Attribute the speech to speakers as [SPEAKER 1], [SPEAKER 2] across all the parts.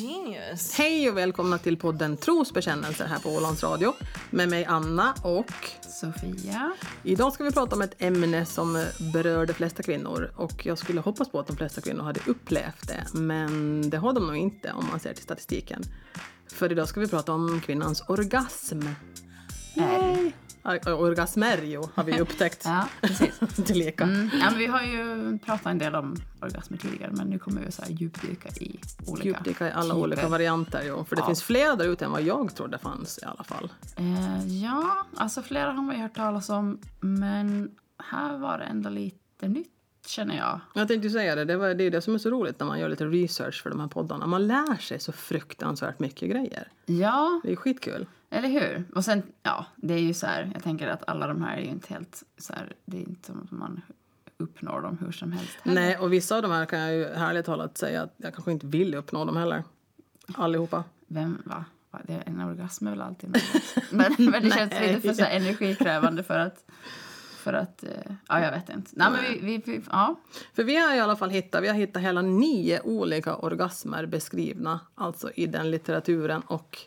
[SPEAKER 1] Yes.
[SPEAKER 2] Hej och välkomna till podden Trosbekännelser här på Ålands Radio med mig Anna och
[SPEAKER 1] Sofia.
[SPEAKER 2] idag ska vi prata om ett ämne som berör de flesta kvinnor och jag skulle hoppas på att de flesta kvinnor hade upplevt det men det har de nog inte om man ser till statistiken. För idag ska vi prata om kvinnans orgasm. Yay! Or- Orgasmer jo, har vi upptäckt.
[SPEAKER 1] Ja, precis.
[SPEAKER 2] Tilleka.
[SPEAKER 1] Mm. Ja, men vi har ju pratat en del om orgasmer tidigare men nu kommer vi så här djupdyka i olika
[SPEAKER 2] Djupdyka i alla
[SPEAKER 1] typer.
[SPEAKER 2] olika varianter. Jo, för det
[SPEAKER 1] Ja.
[SPEAKER 2] finns flera där ute än vad jag trodde fanns i alla fall.
[SPEAKER 1] Eh, ja, alltså flera har man ju hört talas om men här var det ändå lite nytt känner jag.
[SPEAKER 2] Jag tänkte ju säga det, det, var, det är ju det som är så roligt när man gör lite research för de här poddarna. Man lär sig så fruktansvärt mycket grejer.
[SPEAKER 1] Ja,
[SPEAKER 2] Det är ju skitkul.
[SPEAKER 1] Eller hur? Och sen, ja, det är ju så här, jag tänker att alla de här är ju inte helt så här, det är inte som att man uppnår dem hur som helst. heller.
[SPEAKER 2] Nej, och vissa av de här kan jag ju härligt talat säga att jag kanske inte vill uppnå dem heller. Allihopa.
[SPEAKER 1] Vem, va? Va, Det är en orgasm är väl alltid något. Men, men det känns
[SPEAKER 2] Nej.
[SPEAKER 1] lite för så här energikrävande för att, för att, eh, ja jag vet inte. Nej men vi, vi, vi ja.
[SPEAKER 2] För vi har i alla fall hittat, vi har hittat hela nio olika orgasmer beskrivna, alltså i den litteraturen och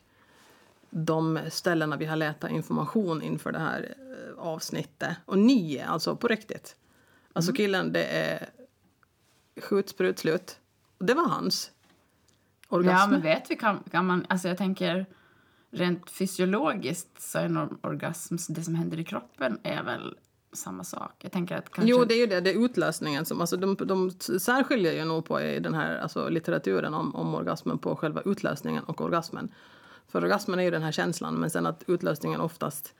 [SPEAKER 2] de ställena vi har letat information inför det här eh, avsnittet. Och nio, alltså på riktigt. Alltså
[SPEAKER 1] Mm.
[SPEAKER 2] killen, det är skjut, sprut, slut. Och det var hans orgasm.
[SPEAKER 1] Ja men vet vi, kan, kan man, alltså jag tänker rent fysiologiskt så är nog orgasm, det som händer i kroppen är väl samma sak. Jag tänker att kanske...
[SPEAKER 2] Jo, det är ju det. Det är utlösningen. Som, alltså, de, de särskiljer ju nog på i den här alltså, litteraturen om, om orgasmen på själva utlösningen och orgasmen. För orgasmen är ju den här känslan, men sen att utlösningen oftast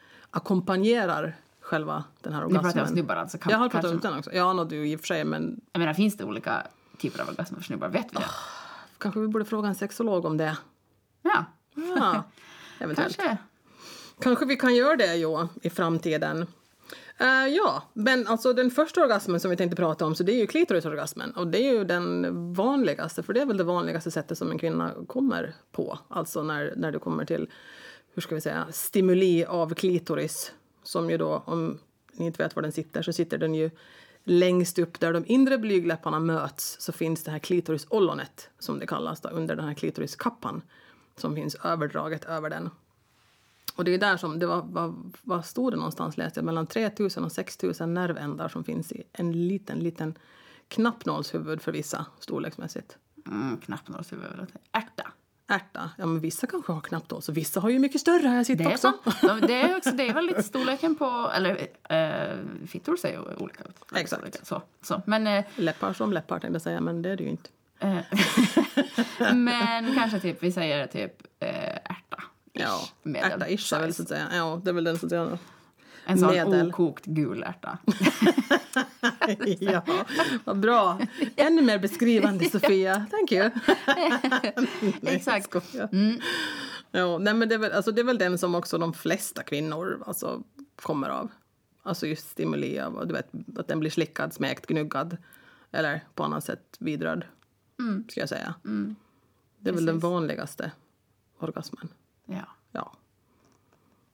[SPEAKER 2] ackompanjerar själva den här
[SPEAKER 1] nu pratar jag om
[SPEAKER 2] orgasmen.
[SPEAKER 1] snubbar alltså. Kan,
[SPEAKER 2] Jag har pratat
[SPEAKER 1] kanske-
[SPEAKER 2] om den också. Ja, nå, du i och för sig, men
[SPEAKER 1] Jag menar, finns det olika typer av orgasmer för snubbar? Vet vi det?
[SPEAKER 2] kanske vi borde fråga en sexolog om det.
[SPEAKER 1] Ja,
[SPEAKER 2] Ja, eventuellt.
[SPEAKER 1] kanske.
[SPEAKER 2] Kanske vi kan göra det jo, i framtiden. Eh, ja, men alltså den första orgasmen som vi tänkte prata om så det är ju klitorisorgasmen. Och det är ju den vanligaste, för det är väl det vanligaste sättet som en kvinna kommer på. Alltså när, när du kommer till, hur ska vi säga, stimuli av klitoris. Som ju då, om ni inte vet var den sitter, så sitter den ju längst upp där de inre blygläpparna möts så finns det här klitorisollonet, som det kallas då, under den här klitoriskappan. Som finns överdraget över den. Och det är där som, det var, vad, vad stod det någonstans läste jag, mellan 3000 och 6000 nervändar som finns i en liten, liten knappnålshuvud för vissa storleksmässigt.
[SPEAKER 1] Mm, knappnålshuvud. Ärta.
[SPEAKER 2] Ärta, ja men vissa kanske har knappnåls och vissa har ju mycket större här jag
[SPEAKER 1] Det
[SPEAKER 2] sitter
[SPEAKER 1] är,
[SPEAKER 2] också.
[SPEAKER 1] så, de- det är också. Det är väl lite storleken på... Eller eh, fittor ser ju olika ut.
[SPEAKER 2] Exakt.
[SPEAKER 1] Olika, Så, så. Men, eh,
[SPEAKER 2] Läppar som läppar tänkte jag säga, men det är det ju inte.
[SPEAKER 1] eh, men kanske typ, vi säger typ eh, ärta.
[SPEAKER 2] Ja,
[SPEAKER 1] Medel.
[SPEAKER 2] ärta-ish är väl så att säga. Ja, det är väl den så att säga.
[SPEAKER 1] En sån
[SPEAKER 2] medel.
[SPEAKER 1] okokt gul ärta.
[SPEAKER 2] ja, vad bra. Ännu mer beskrivande Sofia, thank you. Mm. Nej,
[SPEAKER 1] Exakt.
[SPEAKER 2] skojar. Ja, nej, men det, är väl, alltså, det är väl den som också de flesta kvinnor alltså, kommer av. Alltså just stimuli av och du vet, att den blir slickad, smekt, gnuggad eller på annat sätt vidrörd, ska jag säga. Det är väl den vanligaste orgasmen.
[SPEAKER 1] Ja.
[SPEAKER 2] Ja.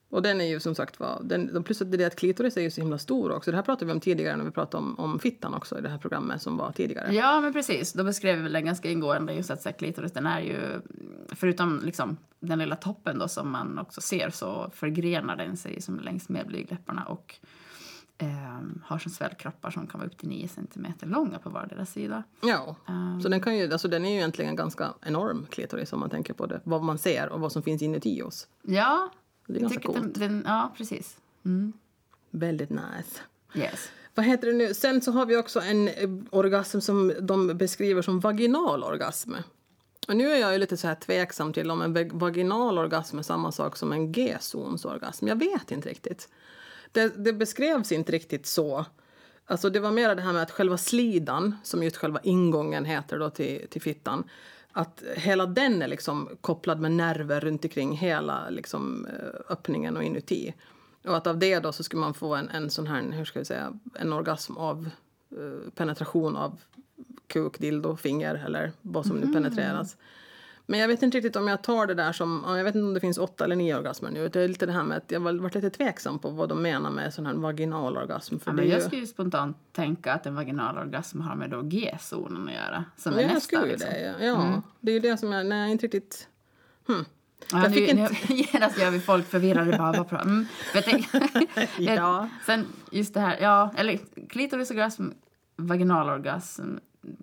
[SPEAKER 2] Och den är ju som sagt var, den, plus att det är det att klitoris är ju så himla stor också. Det här pratade vi om tidigare när vi pratade om, om fittan också i det här programmet som var tidigare.
[SPEAKER 1] Ja, men precis. Då beskrev vi väl den ganska ingående just att så här, klitoris, den är ju, förutom liksom den lilla toppen då som man också ser, så förgrenar den sig som längs med blygdläpparna och ehm, har som svällkroppar som kan vara upp till 9 centimeter långa på vardera sida.
[SPEAKER 2] Ja. Så den, kan ju, alltså den är ju egentligen ganska enorm klitoris om man tänker på det. Vad man ser och vad som finns inuti oss.
[SPEAKER 1] Ja,
[SPEAKER 2] Det är ganska
[SPEAKER 1] tycker att Den, den, ja, precis. Mm.
[SPEAKER 2] Väldigt nice.
[SPEAKER 1] Yes.
[SPEAKER 2] Vad heter det nu? Sen så har vi också en eh, orgasm som de beskriver som vaginal orgasm. Och nu är jag ju lite så här tveksam till om en vag- vaginal orgasm är samma sak som en G-zonsorgasm. Jag vet inte riktigt. Det, det beskrevs inte riktigt så. Alltså det var mer det här med att själva slidan, som just själva ingången heter då till, till fittan, att hela den är liksom kopplad med nerver runt omkring hela liksom, eh, öppningen och inuti. Och att av det då så skulle man få en, en sån här, hur ska vi säga, en orgasm av eh, penetration av kuk, dildo, finger eller vad som
[SPEAKER 1] Mm.
[SPEAKER 2] nu penetreras. Men jag vet inte riktigt om jag tar det där som, ja, jag vet inte om det finns åtta eller nio orgasmer nu. Det är lite det här med att jag har varit lite tveksam på vad de menar med sån här vaginal orgasm. För
[SPEAKER 1] Ja,
[SPEAKER 2] det är
[SPEAKER 1] men jag
[SPEAKER 2] ju-
[SPEAKER 1] skulle ju spontant tänka att en vaginal orgasm har med då G-zonen att göra. Som är
[SPEAKER 2] Ja, jag
[SPEAKER 1] nästa,
[SPEAKER 2] skulle ju
[SPEAKER 1] liksom.
[SPEAKER 2] det. Ja. Ja, Det är ju det som jag, nej, jag inte riktigt
[SPEAKER 1] Ja,
[SPEAKER 2] Jag
[SPEAKER 1] nu,
[SPEAKER 2] fick
[SPEAKER 1] nu genast gör vi folk förvirrade. Bara, bara, pra- mm. Men jag tänk- Eh,
[SPEAKER 2] Ja.
[SPEAKER 1] Sen just det här, ja, eller klitorisorgasm, vaginalorgasm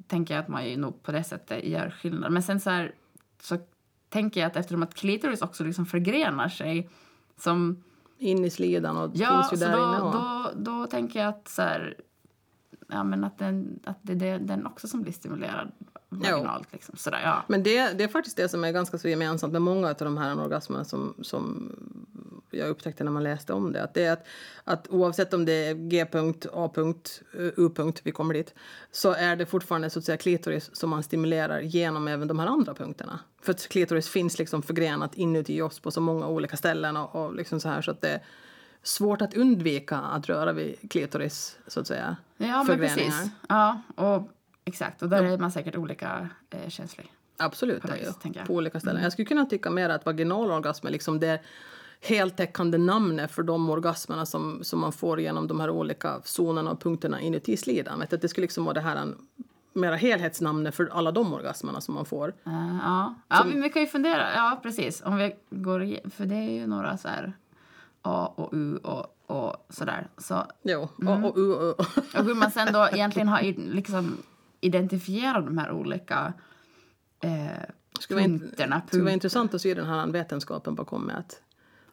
[SPEAKER 1] tänker jag att man ju nog på det sättet gör skillnad. Men sen så här, så tänker jag att eftersom att klitoris också liksom förgrenar sig som
[SPEAKER 2] In i slidan och
[SPEAKER 1] Ja,
[SPEAKER 2] finns ju
[SPEAKER 1] så
[SPEAKER 2] där
[SPEAKER 1] då,
[SPEAKER 2] inne. Och,
[SPEAKER 1] då, då tänker jag att så här, ja, men att, den, att det är det- den också som blir stimulerad vaginalt. Liksom, sådär, ja.
[SPEAKER 2] Men det, det är faktiskt det som är ganska så gemensamt med många av de här orgasmerna som, som jag upptäckte när man läste om det. Att det är att, att oavsett om det är G-punkt, A-punkt, eh, U-punkt, vi kommer dit, så är det fortfarande så att säga klitoris som man stimulerar genom även de här andra punkterna. För att klitoris finns liksom förgrenat inuti oss på så många olika ställen och, och liksom så här så att det är svårt att undvika att röra vid klitoris så att säga.
[SPEAKER 1] ja men
[SPEAKER 2] förgreningar.
[SPEAKER 1] precis. Ja, och, exakt, och där är man säkert olika eh, känslig.
[SPEAKER 2] Absolut, det är
[SPEAKER 1] vis,
[SPEAKER 2] ju,
[SPEAKER 1] tänker jag. Mm.
[SPEAKER 2] på olika ställen. Jag skulle kunna tycka mer att vaginal orgasm är liksom det heltäckande namnet för de orgasmerna som, som man får genom de här olika zonerna och punkterna inuti slidan. Vet du? Det skulle liksom vara det här en, mera helhetsnamnet för alla de orgasmerna som man får.
[SPEAKER 1] Eh, ja, ja men vi kan ju fundera. Ja, precis. Om vi går igen, för det är ju några så här A och U och, och sådär. Så,
[SPEAKER 2] Jo,
[SPEAKER 1] Mm.
[SPEAKER 2] och, och, och, och.
[SPEAKER 1] och hur man sen då egentligen har i- liksom identifierat de här olika eh,
[SPEAKER 2] vara in-
[SPEAKER 1] punkterna.
[SPEAKER 2] Det skulle vara intressant att se den här vetenskapen bakom med att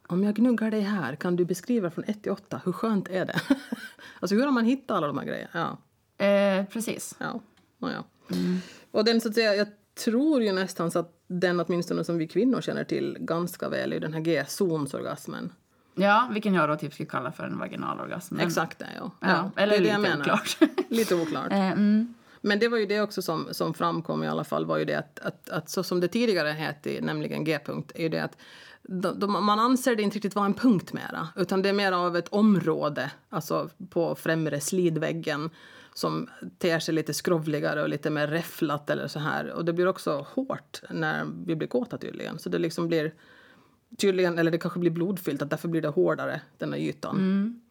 [SPEAKER 2] om jag gnuggar dig här, kan du beskriva från 1 till 8, hur skönt är det? alltså hur har man hittat alla de här grejerna? Ja.
[SPEAKER 1] Eh, precis.
[SPEAKER 2] Ja, nåja.
[SPEAKER 1] Mm.
[SPEAKER 2] Och den så att säga, jag tror ju nästan så att den åtminstone som vi kvinnor känner till ganska väl är ju den här G-zonsorgasmen.
[SPEAKER 1] Ja, vilken jag då typ skulle kalla för en vaginalorgasm. Men-
[SPEAKER 2] Exakt det, ja.
[SPEAKER 1] Mm. Ja, eller
[SPEAKER 2] det är det jag
[SPEAKER 1] lite
[SPEAKER 2] menar.
[SPEAKER 1] oklart.
[SPEAKER 2] lite oklart.
[SPEAKER 1] Eh, mm.
[SPEAKER 2] Men det var ju det också som, som framkom i alla fall var ju det att, att, att så som det tidigare hette, nämligen G-punkt, är ju det att de, de, man anser det inte riktigt vara en punkt mera, utan det är mer av ett område, alltså på främre slidväggen som ter sig lite skrovligare och lite mer räfflat eller så här. Och det blir också hårt när vi blir kåta tydligen, så det liksom blir tydligen, eller det kanske blir blodfyllt, att därför blir det hårdare, den här ytan.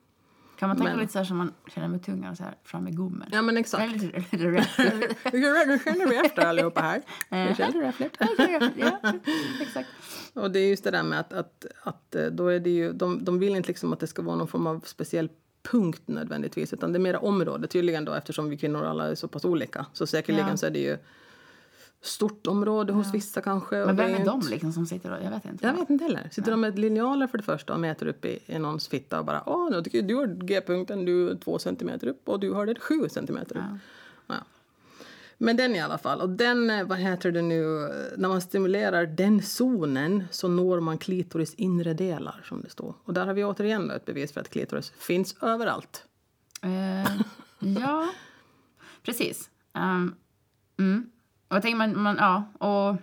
[SPEAKER 1] Kan man tänka lite så här som man känner med tungan så här fram i gommen?
[SPEAKER 2] Ja men exakt.
[SPEAKER 1] Eller lite- lite rätt.
[SPEAKER 2] Nu känner vi efter allihopa här.
[SPEAKER 1] Mm.
[SPEAKER 2] Nu känner vi efter.
[SPEAKER 1] ja, exakt.
[SPEAKER 2] Och det är just det där med att, att, att eh, då är det ju, de, de vill inte liksom att det ska vara någon form av speciell punkt nödvändigtvis utan det är mera område tydligen då eftersom vi kvinnor alla är så pass olika. Så säkerligen
[SPEAKER 1] Ja.
[SPEAKER 2] så är det ju stort område hos vissa kanske. och
[SPEAKER 1] Men
[SPEAKER 2] det
[SPEAKER 1] vem
[SPEAKER 2] ju
[SPEAKER 1] är
[SPEAKER 2] inte-
[SPEAKER 1] de liksom som sitter och... Jag vet inte.
[SPEAKER 2] Jag vet inte heller. Sitter de med linjaler för det första och mäter upp i, i någons fitta och bara åh nu tycker jag du har g-punkten du är två centimeter upp och du har det sju centimeter upp. Ja. Men den i alla fall. Och den, eh, vad heter det nu, eh, när man stimulerar den zonen så når man klitoris inre delar som det står. Och där har vi återigen ett bevis för att klitoris finns överallt.
[SPEAKER 1] Eh, ja, precis. Ehm, mm. Och jag tänker man, man ja, och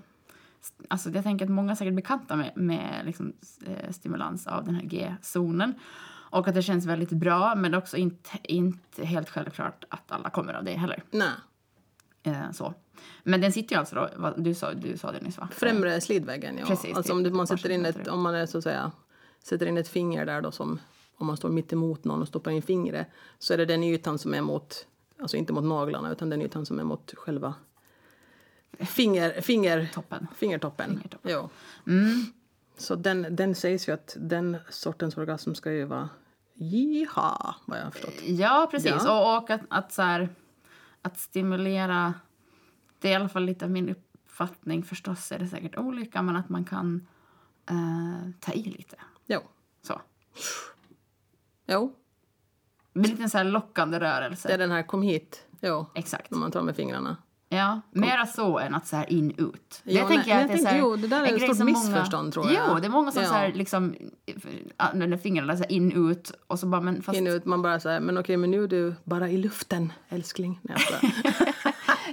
[SPEAKER 1] alltså jag tänker att många är säkert bekanta med, med liksom, eh, stimulans av den här G-zonen. Och att det känns väldigt bra, men också inte, inte helt självklart att alla kommer av det heller.
[SPEAKER 2] Nej,
[SPEAKER 1] Eh, så. Men den sitter ju alltså då, vad- du sa, du sa det nyss va?
[SPEAKER 2] främre slidväggen ja.
[SPEAKER 1] Precis,
[SPEAKER 2] alltså
[SPEAKER 1] det är
[SPEAKER 2] om, det,
[SPEAKER 1] ett
[SPEAKER 2] man
[SPEAKER 1] par
[SPEAKER 2] sätter in ett,
[SPEAKER 1] centimeter
[SPEAKER 2] om man är så att säga sätter in ett finger där då som om man står mitt emot någon och stoppar in fingret så är det den ytan som är mot, alltså inte mot naglarna utan den ytan som är mot själva finger, finger,
[SPEAKER 1] Toppen.
[SPEAKER 2] fingertoppen.
[SPEAKER 1] Fingertoppen. Mm.
[SPEAKER 2] Jo. Så den, den sägs ju att den sortens orgasm ska ju vara jiha, vad jag har förstått.
[SPEAKER 1] Ja, precis. Och, och att, att, så här, att stimulera... Det är i alla fall lite av min uppfattning. Förstås är det säkert olika, men att man kan eh, ta i lite.
[SPEAKER 2] Jo.
[SPEAKER 1] Så.
[SPEAKER 2] jo,
[SPEAKER 1] Med lite så här lockande
[SPEAKER 2] det Mm.
[SPEAKER 1] rörelse.
[SPEAKER 2] är den här kom hit, jo,
[SPEAKER 1] Exakt.
[SPEAKER 2] när man tar med fingrarna.
[SPEAKER 1] Ja, mera så än att så här in ut. Det
[SPEAKER 2] Ja, nej,
[SPEAKER 1] tänker jag
[SPEAKER 2] men
[SPEAKER 1] att det
[SPEAKER 2] jag
[SPEAKER 1] är så här,
[SPEAKER 2] tänker, jo, det där är
[SPEAKER 1] en
[SPEAKER 2] ett
[SPEAKER 1] grej
[SPEAKER 2] stort
[SPEAKER 1] som
[SPEAKER 2] missförstånd, tror jag.
[SPEAKER 1] Jo, det är många som
[SPEAKER 2] Ja.
[SPEAKER 1] så här, liksom, använder fingrarna så här, in ut och så bara men fast
[SPEAKER 2] In och ut, man bara så här, men okej, men nu är du bara i luften, älskling. Nej, jag skojar.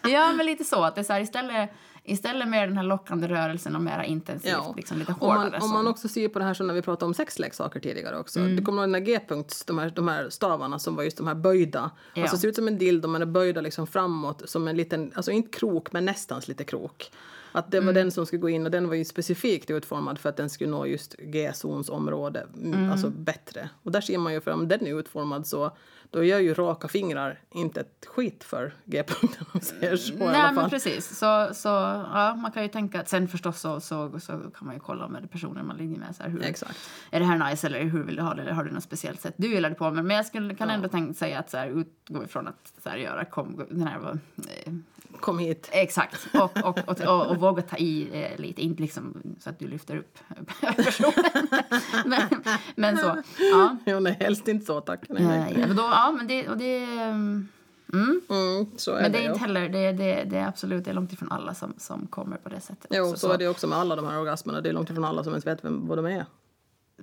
[SPEAKER 1] Ja, men lite så. Att det är så här, istället, istället med den här lockande rörelsen och mera intensivt, liksom lite
[SPEAKER 2] om man,
[SPEAKER 1] hårdare. Mm.
[SPEAKER 2] om man också ser på det här som när vi pratade om sexleksaker tidigare också. Du kommer ihåg den här G-punkts, de här, de här stavarna som var just de här böjda.
[SPEAKER 1] Ja.
[SPEAKER 2] Alltså ser ut som en dildo men är böjda liksom framåt som en liten, alltså inte krok men nästan lite krok. Att
[SPEAKER 1] Mm.
[SPEAKER 2] det var den som skulle gå in och den var ju specifikt utformad för att den skulle nå just G-zons område m,
[SPEAKER 1] Mm.
[SPEAKER 2] alltså bättre. Och där ser man ju för om den är utformad så då gör ju raka fingrar inte ett skit för G-punkten om man säger så i alla
[SPEAKER 1] Nej, men
[SPEAKER 2] fall.
[SPEAKER 1] precis. Så, så ja, man kan ju tänka att sen förstås så, så, så kan man ju kolla med personer man ligger med. Så här, hur,
[SPEAKER 2] Exakt.
[SPEAKER 1] Är det här nice eller hur vill du ha det? Eller har du något speciellt sätt du gillar det på? Men, men jag skulle, kan ändå tänka säga att så här, utgå ifrån att så här, göra kom, den här var, eh,
[SPEAKER 2] Kom hit.
[SPEAKER 1] Exakt. Och, och, och, och, och våga ta i eh, lite, inte liksom så att du lyfter upp personen. men, men så. Ja.
[SPEAKER 2] Jo, nej, helst inte så tack. Nej, nej.
[SPEAKER 1] Eh, Ja, men då, ja, men det, och det, ehm, mm.
[SPEAKER 2] Mm, så är
[SPEAKER 1] Men det
[SPEAKER 2] ju.
[SPEAKER 1] är inte heller, det, det, det är absolut, det är långt ifrån alla som, som kommer på det sättet.
[SPEAKER 2] Jo,
[SPEAKER 1] också,
[SPEAKER 2] så, är det ju också med alla de här orgasmerna. Det är långt ifrån alla som ens vet vem, vad de är.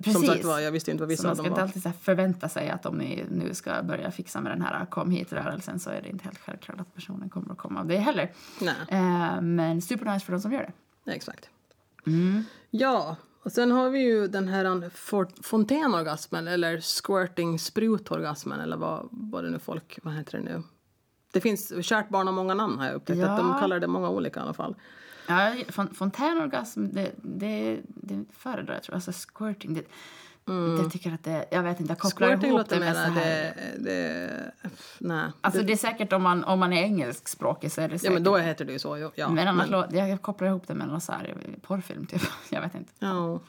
[SPEAKER 1] Precis.
[SPEAKER 2] Som sagt var, jag visste inte vad
[SPEAKER 1] så
[SPEAKER 2] vissa
[SPEAKER 1] man
[SPEAKER 2] av
[SPEAKER 1] ska
[SPEAKER 2] dem
[SPEAKER 1] inte
[SPEAKER 2] var.
[SPEAKER 1] alltid så här förvänta sig att om ni nu ska börja fixa med den här "Ah, kom hit-rörelsen så är det inte helt självklart att personen kommer att komma av det heller.
[SPEAKER 2] Nej,
[SPEAKER 1] Eh, men supernice för de som gör det.
[SPEAKER 2] exakt.
[SPEAKER 1] Mm.
[SPEAKER 2] Ja, och sen har vi ju den här for- fontänorgasmen eller squirting sprutorgasmen eller vad, vad det nu folk, vad heter det nu? Det finns, kärt barn har många namn har jag upptäckt,
[SPEAKER 1] Ja.
[SPEAKER 2] att de kallar det många olika i alla fall.
[SPEAKER 1] Ja, fon- fontänorgasm, det, det, det föredrar jag tror jag. Alltså squirting, det, jag tycker att det, jag vet inte, jag kopplar
[SPEAKER 2] Mm. Squirting
[SPEAKER 1] ihop det
[SPEAKER 2] låter mer,
[SPEAKER 1] med så här.
[SPEAKER 2] det, det, nej.
[SPEAKER 1] Alltså det är säkert om man, om man är engelskspråkig så är det
[SPEAKER 2] ja
[SPEAKER 1] säkert.
[SPEAKER 2] men då heter det ju så, jo, ja.
[SPEAKER 1] men annars, lå- jag kopplar ihop det med någon så här porrfilm typ. Jag vet inte.
[SPEAKER 2] ja,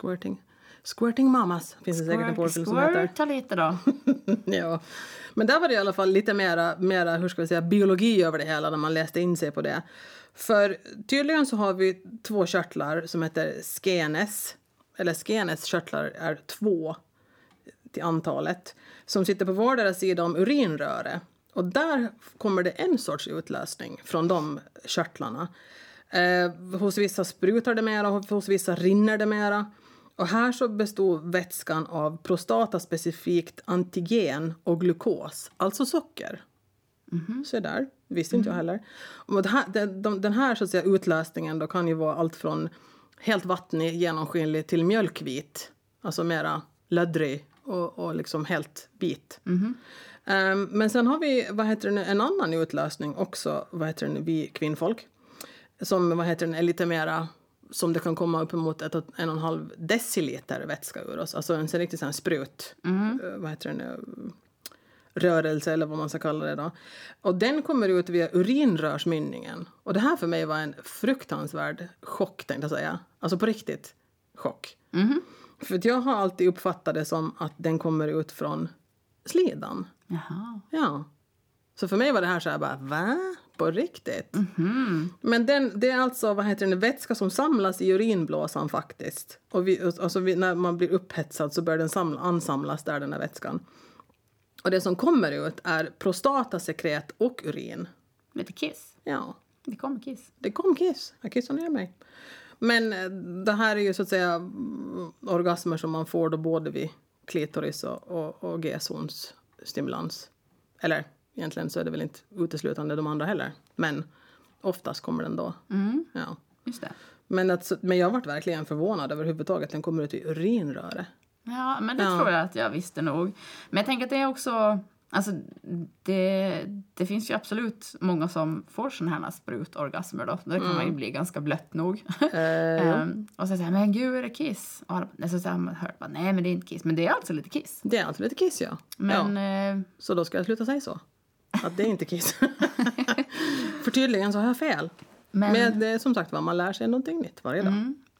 [SPEAKER 2] squirting. Squirting mamas finns det säkert en porrfilm som heter.
[SPEAKER 1] squirta lite då.
[SPEAKER 2] Ja, men där var det i alla fall lite mera, mera hur ska vi säga, biologi över det hela när man läste in sig på det. För tydligen så har vi två körtlar som heter skenes, eller skenes körtlar är två till antalet, som sitter på vardera sida om urinröret. Och där kommer det en sorts utlösning från de körtlarna. Eh, hos vissa sprutar det mera, och hos vissa rinner det mera. Och här så bestod vätskan av prostata specifikt antigen och glukos, alltså socker. Så där, visste inte jag heller. Och det här, den, de, den här så att säga, utlösningen då kan ju vara allt från helt vattnig, genomskinlig till mjölkvit. Alltså mera löddrig och, och liksom helt vit. Ehm, men sen har vi vad heter det, nu, en annan utlösning också, vad heter det, nu, vi kvinnfolk. Som vad heter det, nu, är lite mera som det kan komma uppemot ett, och- en och en halv deciliter vätska ur oss. Alltså en sån riktig sån här sprut. eh, vad heter det nu? rörelse eller vad man ska kalla det då. Och den kommer ut via urinrörsmynningen. Och det här för mig var en fruktansvärd chock tänkte jag säga. Alltså på riktigt chock. För att jag har alltid uppfattat det som att den kommer ut från slidan.
[SPEAKER 1] Jaha.
[SPEAKER 2] Ja. Så för mig var det här så här bara, va? På riktigt? Men den, det är alltså vad heter det, vätska som samlas i urinblåsan faktiskt. Och vi, och- alltså vi, när man blir upphetsad så börjar den samla, ansamlas där den här vätskan. Och det som kommer ut är prostatasekret och urin.
[SPEAKER 1] Lite kiss.
[SPEAKER 2] Ja,
[SPEAKER 1] Det kommer kiss.
[SPEAKER 2] det kom kiss. Jag kissade ner mig. Men eh, det här är ju så att säga mm, orgasmer som man får då både vid klitoris och, och, och G-zons stimulans. Eller egentligen så är det väl inte uteslutande de andra heller. Men oftast kommer den då. Ja.
[SPEAKER 1] Just det.
[SPEAKER 2] Men, att, så- men jag varit verkligen förvånad överhuvudtaget. Den kommer ut i urinröret.
[SPEAKER 1] Ja, men det tror jag att jag visste nog. Men jag tänker att det är också... Alltså, det, det finns ju absolut många som får sådana här sprutorgasmer då. Där kan man ju
[SPEAKER 2] Mm.
[SPEAKER 1] bli ganska blött nog.
[SPEAKER 2] Eh,
[SPEAKER 1] Ehm, och sen säger men gud är det kiss? Och alla- så har man hört bara, nej men det är inte kiss. Men det är alltså lite kiss.
[SPEAKER 2] Det är alltså lite kiss ja. ja.
[SPEAKER 1] Men eh,
[SPEAKER 2] Så då ska jag sluta säga så. Att det är inte kiss. För tydligen så har jag fel. Men,
[SPEAKER 1] Men-
[SPEAKER 2] det är som sagt vad man lär sig någonting nytt varje dag.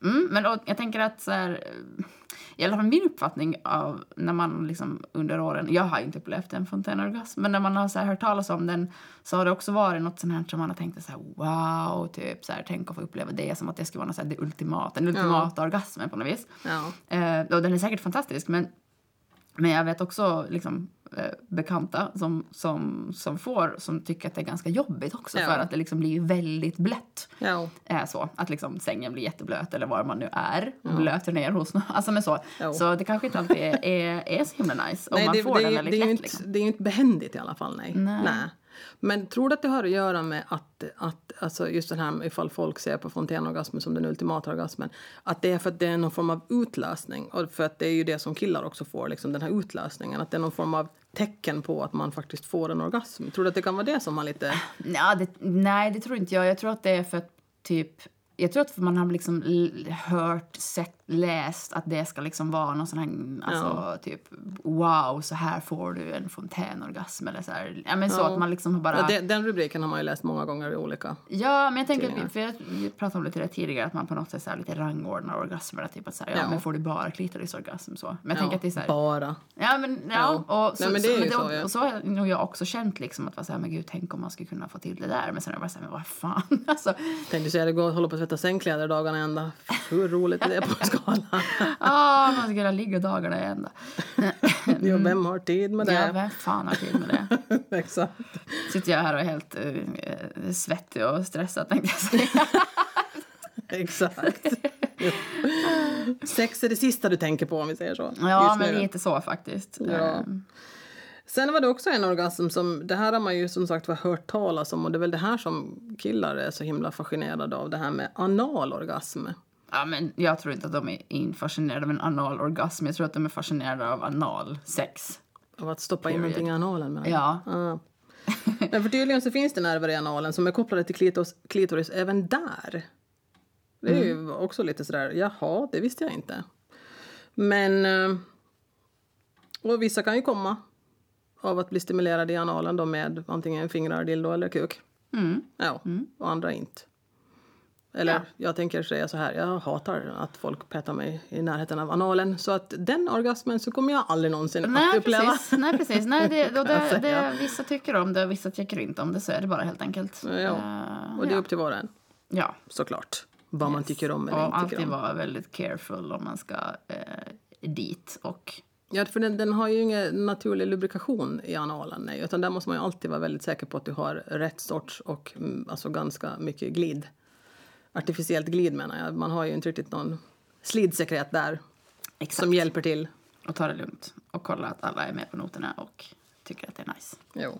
[SPEAKER 1] Mm, men och, jag tänker att så här, eh, i alla fall min uppfattning av när man liksom under åren, jag har ju inte upplevt en fontänorgasm, men när man har så här hört talas om den så har det också varit något sånt här som man har tänkt så här wow, typ så här, tänk att få uppleva det som att det skulle vara något så här, det ultimata, den ultimata orgasmen på något vis.
[SPEAKER 2] Ja.
[SPEAKER 1] Eh, och den är säkert fantastisk, men men jag vet också liksom, eh, bekanta som, som, som får, som tycker att det är ganska jobbigt också
[SPEAKER 2] Ja.
[SPEAKER 1] för att det liksom blir väldigt blött
[SPEAKER 2] Ja.
[SPEAKER 1] är så. Att liksom sängen blir jätteblöt eller var man nu är. Blöter ner hos någon. Alltså men så.
[SPEAKER 2] Jo.
[SPEAKER 1] Så det kanske inte alltid är, är, är så himla nice. Om man
[SPEAKER 2] det,
[SPEAKER 1] får
[SPEAKER 2] det,
[SPEAKER 1] den
[SPEAKER 2] är-
[SPEAKER 1] väldigt
[SPEAKER 2] det, är
[SPEAKER 1] lätt
[SPEAKER 2] ju inte,
[SPEAKER 1] liksom.
[SPEAKER 2] det är ju inte behändigt i alla fall, nej.
[SPEAKER 1] Nej.
[SPEAKER 2] Men tror du att det har att göra med att, att alltså just den här med ifall folk ser på fontänorgasmen som den ultimata orgasmen, att det är för att det är någon form av utlösning? Och för att det är ju det som killar också får, liksom den här utlösningen, att det är någon form av tecken på att man faktiskt får en orgasm. Tror du att det kan vara det som man lite...
[SPEAKER 1] Ja, det, nej, det tror inte jag. Jag tror att det är för att typ jag tror att man har liksom l- hört, sett, läst att det ska liksom vara någon sån här, alltså typ wow, så här får du en fontänorgasm eller så här. Ja men så att man liksom har bara...
[SPEAKER 2] Ja, den, den rubriken har man ju läst många gånger i olika.
[SPEAKER 1] Ja, men jag tänker, att vi- för jag pratade om lite det tidigare, att man på något sätt så här lite rangordnar orgasmerna. Typ att så här, ja,
[SPEAKER 2] Ja.
[SPEAKER 1] men får du bara klitorisorgasm så. Men jag tänker att det är så här,
[SPEAKER 2] Bara.
[SPEAKER 1] Ja, men, ja,
[SPEAKER 2] Ja.
[SPEAKER 1] Och, så,
[SPEAKER 2] Nej, men det är ju
[SPEAKER 1] så,
[SPEAKER 2] så, ja.
[SPEAKER 1] och så har nog jag också känt liksom att vara så här, men gud, tänk om man skulle kunna få till det där. Men sen har jag bara så här, men vad fan. Alltså,
[SPEAKER 2] Tänkte säga, det går att hålla på att tvätta sängkläder dagarna ända. Hur roligt är det på en skala?
[SPEAKER 1] ah, man skulle kunna ligga dagarna i ända.
[SPEAKER 2] Jo, vem har tid med
[SPEAKER 1] Mm. Ja,
[SPEAKER 2] det?
[SPEAKER 1] vem fan har tid med det?
[SPEAKER 2] Exakt.
[SPEAKER 1] Sitter jag här och är helt eh, svettig och stressad tänkte jag säga.
[SPEAKER 2] Exakt. Jo. Sex är det sista du tänker på om vi säger så.
[SPEAKER 1] Ja,
[SPEAKER 2] just
[SPEAKER 1] men
[SPEAKER 2] nu.
[SPEAKER 1] lite så faktiskt.
[SPEAKER 2] Ja. Sen var det också en orgasm som, det här har man ju som sagt var hört talas om och det är väl det här som killar är så himla fascinerade av, det här med analorgasm.
[SPEAKER 1] Ja, men jag tror inte att de är in- fascinerade av en anal orgasm. Jag tror att de är fascinerade av anal sex.
[SPEAKER 2] Av att stoppa in någonting i analen menar jag.
[SPEAKER 1] Ja.
[SPEAKER 2] Ja. Men för tydligen så finns det nerver i analen som är kopplade till klitoris, klitoris även där. Det är
[SPEAKER 1] Mm.
[SPEAKER 2] ju också lite sådär, jaha, det visste jag inte. Men... eh, Och vissa kan ju komma av att bli stimulerade i analen då med antingen fingrar, dildo eller kuk.
[SPEAKER 1] Mm.
[SPEAKER 2] Ja, och andra inte. Eller jag tänker säga så här, jag hatar att folk petar mig i närheten av analen så att den orgasmen så kommer jag aldrig någonsin att
[SPEAKER 1] Nej,
[SPEAKER 2] uppleva.
[SPEAKER 1] precis. Nej, precis. Nej, det, och det,
[SPEAKER 2] Alltså,
[SPEAKER 1] det, vissa tycker om det och vissa tycker inte om det. Så är det bara helt enkelt.
[SPEAKER 2] Ja, ja.
[SPEAKER 1] Eh,
[SPEAKER 2] Och det är upp till var och en,
[SPEAKER 1] ja.
[SPEAKER 2] såklart. Vad man tycker om eller
[SPEAKER 1] Och
[SPEAKER 2] inte tycker
[SPEAKER 1] alltid
[SPEAKER 2] om.
[SPEAKER 1] vara väldigt careful om man ska eh, dit. Och,
[SPEAKER 2] Ja, för den, den har ju ingen naturlig lubrikation i analen, nej. Utan där måste man ju alltid vara väldigt säker på att du har rätt sorts och mm, alltså ganska mycket glid. Artificiellt glid menar jag. Man har ju inte riktigt någon slidsekret där
[SPEAKER 1] exakt.
[SPEAKER 2] som hjälper till.
[SPEAKER 1] och ta det lugnt. Och kolla att alla är med på noterna och tycker att det är nice.
[SPEAKER 2] Jo.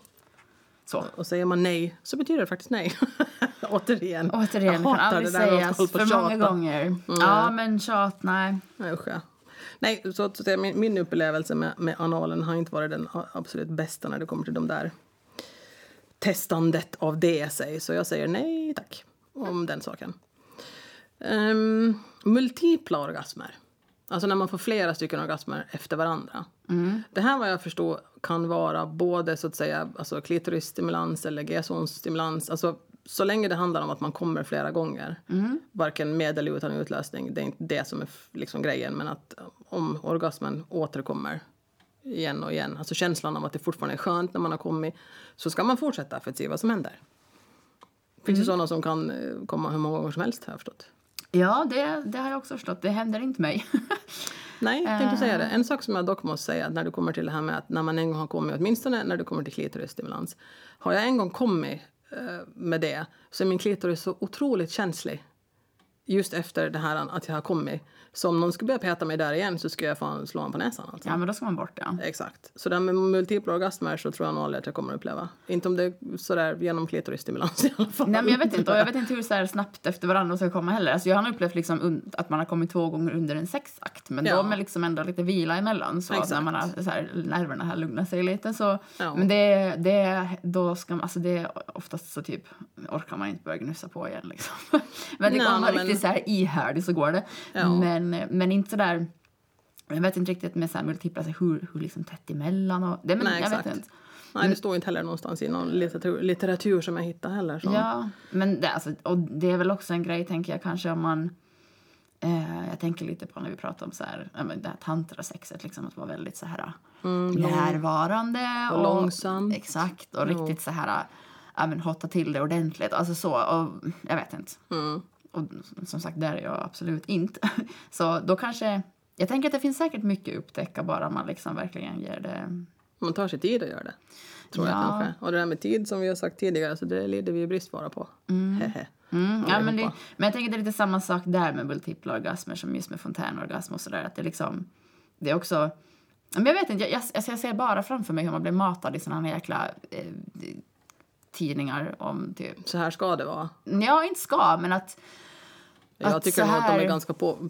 [SPEAKER 1] Så.
[SPEAKER 2] Och säger man nej så betyder det faktiskt nej. Återigen.
[SPEAKER 1] Återigen, det
[SPEAKER 2] jag
[SPEAKER 1] kan
[SPEAKER 2] hatar
[SPEAKER 1] aldrig
[SPEAKER 2] det där med att
[SPEAKER 1] sägas
[SPEAKER 2] hålla på
[SPEAKER 1] för
[SPEAKER 2] och
[SPEAKER 1] många
[SPEAKER 2] tjata. Mm.
[SPEAKER 1] gånger. Ja, men tjat, nej.
[SPEAKER 2] Nej, usch, ja. Nej, så att säga, min, min upplevelse med, med analen har inte varit den a- absolut bästa när det kommer till de där testandet av DSA. Så jag säger nej tack om den saken. Ehm, multipla orgasmer. Alltså när man får flera stycken orgasmer efter varandra. Det här vad jag förstår kan vara både så att säga alltså klitorisstimulans eller G-zonsstimulans. Alltså så länge det handlar om att man kommer flera gånger. Varken med eller utan utlösning. Det är inte det som är f- liksom grejen. Men att om orgasmen återkommer igen och igen. Alltså känslan av att det fortfarande är skönt när man har kommit. Så ska man fortsätta för att se vad som händer. Finns det sådana som kan eh, komma hur många gånger som helst har jag förstått.
[SPEAKER 1] Ja, det, det har jag också förstått. Det händer inte mig.
[SPEAKER 2] Nej, jag tänkte säga det.
[SPEAKER 1] Eh.
[SPEAKER 2] En sak som jag dock måste säga när du kommer till det här med att när man en gång har kommit, åtminstone när du kommer till klitorisstimulans. Har jag en gång kommit eh, med det så är min klitoris så otroligt känslig. Just efter det här att jag har kommit. Så om någon skulle börja peta mig där igen så skulle jag fan slå honom på näsan alltså.
[SPEAKER 1] ja, men då ska man bort det. Ja.
[SPEAKER 2] Exakt. Så det här med multipla orgasmer så tror jag nog aldrig att jag kommer att uppleva. Inte om det är sådär genom klitorisstimulans i alla fall.
[SPEAKER 1] Nej, men jag vet inte. Och jag vet inte hur så här snabbt efter varandra ska komma heller. Alltså, jag har nog upplevt liksom un- att man har kommit två gånger under en sexakt. Men då
[SPEAKER 2] Ja.
[SPEAKER 1] med liksom ändå lite vila emellan. Så
[SPEAKER 2] Exakt.
[SPEAKER 1] när man har, så här, nerverna har lugnat sig lite. Så,
[SPEAKER 2] Ja.
[SPEAKER 1] Men det, det, då ska man, alltså det, oftast så typ orkar man inte börja gnussa på igen. Liksom. men det
[SPEAKER 2] Nej,
[SPEAKER 1] kommer
[SPEAKER 2] men-
[SPEAKER 1] riktigt så här ihärdig så går det.
[SPEAKER 2] Ja.
[SPEAKER 1] Men, men inte så där... Jag vet inte riktigt med så här multipla, så här, hur, hur liksom tätt emellan. Och, det, men,
[SPEAKER 2] Nej,
[SPEAKER 1] jag vet
[SPEAKER 2] exakt.
[SPEAKER 1] inte. Mm.
[SPEAKER 2] Nej, det står inte heller någonstans i någon litteratur, litteratur som jag hittar heller. Så.
[SPEAKER 1] Ja, men det, alltså, och det är väl också en grej, tänker jag, kanske om man... Eh, jag tänker lite på när vi pratar om så här, ja, men det här tantrasexet, liksom, att vara väldigt så här närvarande.
[SPEAKER 2] och långsamt.
[SPEAKER 1] Exakt, och riktigt så här, eh, ja, men hotta till det ordentligt. Alltså så, och, jag vet inte.
[SPEAKER 2] Mm.
[SPEAKER 1] Och som sagt, där är jag absolut inte. Så då kanske... Jag tänker att det finns säkert mycket att upptäcka bara man liksom verkligen ger det...
[SPEAKER 2] Man tar sig tid att göra det. Tror
[SPEAKER 1] Ja.
[SPEAKER 2] jag kanske. Och det där med tid som vi har sagt tidigare, så det lider vi ju bristvara på. Hehe.
[SPEAKER 1] Mm, ja, men, det,
[SPEAKER 2] Allihopa.
[SPEAKER 1] men jag tänker att det är lite samma sak där med multipla orgasmer som just med fontänorgasm och sådär. Att det liksom, det är också... Men jag vet inte, jag, jag, alltså jag ser bara framför mig hur man blir matad i såna här jäkla eh, tidningar om typ...
[SPEAKER 2] Så här ska det vara.
[SPEAKER 1] Ja, inte ska, men att...
[SPEAKER 2] Jag
[SPEAKER 1] Att så
[SPEAKER 2] tycker nog att de
[SPEAKER 1] här-
[SPEAKER 2] är ganska på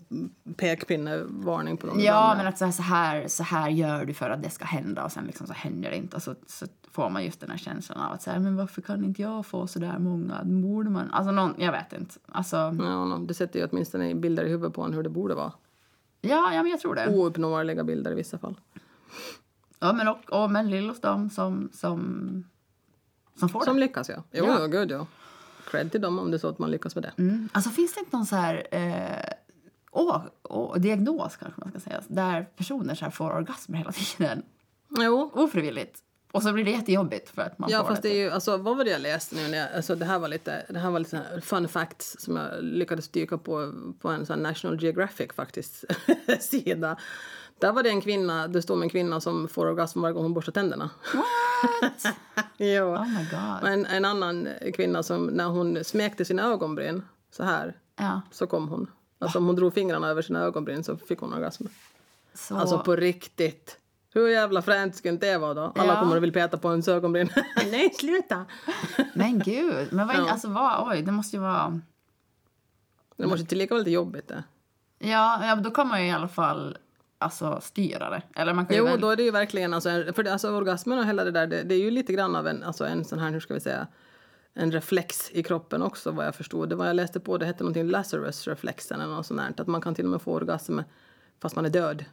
[SPEAKER 2] pekpinnevarning på dem.
[SPEAKER 1] Ja,
[SPEAKER 2] ibland.
[SPEAKER 1] men att så här, så, här, så här gör du för att det ska hända och sen liksom så händer det inte. Och så, så får man just den här känslan av att så här, men varför kan inte jag få så där många? Borde man? Alltså någon, jag vet inte. Alltså,
[SPEAKER 2] Ja, no, det sätter ju åtminstone bilder i huvudet på en hur det borde vara.
[SPEAKER 1] ja, ja, men jag tror det.
[SPEAKER 2] Ouppnåeliga bilder i vissa fall.
[SPEAKER 1] Ja, men och, och men Lillos de som, som, som får
[SPEAKER 2] Som
[SPEAKER 1] det.
[SPEAKER 2] lyckas, ja. Jo,
[SPEAKER 1] Ja.
[SPEAKER 2] ja. gud ja. Cred till dem om det är så att man lyckas med det.
[SPEAKER 1] Mm. Alltså finns det inte någon så här eh, å, å, diagnos kanske man ska säga, där personer så här får orgasmer hela tiden
[SPEAKER 2] Jo.
[SPEAKER 1] ofrivilligt? Och så blir det jättejobbigt för att man
[SPEAKER 2] Ja,
[SPEAKER 1] får
[SPEAKER 2] fast
[SPEAKER 1] det.
[SPEAKER 2] det är ju, alltså, vad var det jag läste nu? När jag, alltså, det här var lite, det här var lite sån här fun facts som jag lyckades dyka på på en sån här National Geographic faktiskt sida. Där var det en kvinna, det stod om en kvinna som får orgasm varje gång hon borstar tänderna.
[SPEAKER 1] What?
[SPEAKER 2] ja.
[SPEAKER 1] Oh my god.
[SPEAKER 2] Och en, en annan kvinna som när hon smekte sina ögonbryn så här
[SPEAKER 1] Ja,
[SPEAKER 2] så kom hon. Alltså om hon drog fingrarna över sina ögonbryn så fick hon orgasm.
[SPEAKER 1] så...
[SPEAKER 2] Alltså på riktigt. Hur jävla fränt skulle inte det vara då? Alla
[SPEAKER 1] Ja.
[SPEAKER 2] kommer och vill peta på ens ögonbryn. Nej, sluta!
[SPEAKER 1] Men gud, men vad, alltså vad, oj, det måste ju vara...
[SPEAKER 2] Det måste tillika vara lite jobbigt det.
[SPEAKER 1] Ja, ja, men då kan man ju i alla fall alltså, styra det. Eller man kan ju
[SPEAKER 2] Jo,
[SPEAKER 1] väl,
[SPEAKER 2] då är det ju verkligen alltså, en- för det, alltså orgasmen och hela det där, det, det är ju lite grann av en, alltså en sån här, hur ska vi säga, en reflex i kroppen också vad jag förstod. Det var jag läste på, det hette någonting Lazarus-reflexen eller något sånt där, att man kan till och med få orgasm fast man är död.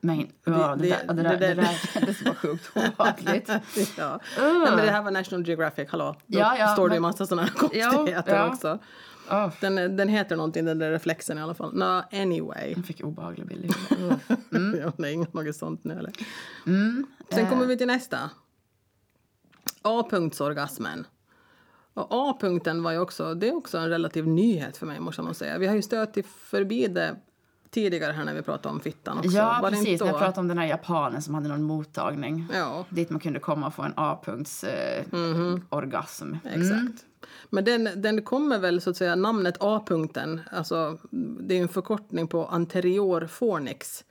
[SPEAKER 1] Men, ja, det,
[SPEAKER 2] det-
[SPEAKER 1] där, det, där,
[SPEAKER 2] det
[SPEAKER 1] det,
[SPEAKER 2] där-
[SPEAKER 1] där kändes bara sjukt obehagligt.
[SPEAKER 2] ja. Nej, men det här var National Geographic, hallå. Då
[SPEAKER 1] Ah. Ja, ja,
[SPEAKER 2] står det ju
[SPEAKER 1] men-
[SPEAKER 2] massa såna här
[SPEAKER 1] Ja,
[SPEAKER 2] konstigheter
[SPEAKER 1] ja.
[SPEAKER 2] också.
[SPEAKER 1] Åh,
[SPEAKER 2] Den, den heter någonting, den där reflexen i alla fall. No, anyway.
[SPEAKER 1] jag fick obehaglig bild. i huvudet. Uff.
[SPEAKER 2] ja, det är inget något sånt nu eller.
[SPEAKER 1] Mm. Eh.
[SPEAKER 2] Sen kommer vi till nästa. A-punktsorgasmen. Och A-punkten var ju också, det är också en relativ nyhet för mig måste man säga. Vi har ju stött i- förbi det tidigare här när vi pratade om fittan också.
[SPEAKER 1] Ja,
[SPEAKER 2] Var det
[SPEAKER 1] precis.
[SPEAKER 2] inte
[SPEAKER 1] När
[SPEAKER 2] då?
[SPEAKER 1] jag pratade om den här japanen som hade någon mottagning.
[SPEAKER 2] Ja,
[SPEAKER 1] Dit man kunde komma och få en A-punkts eh, orgasm.
[SPEAKER 2] exakt. Mm. Men den, den kommer väl så att säga, namnet A-punkten, alltså det är ju en förkortning på anterior fornix.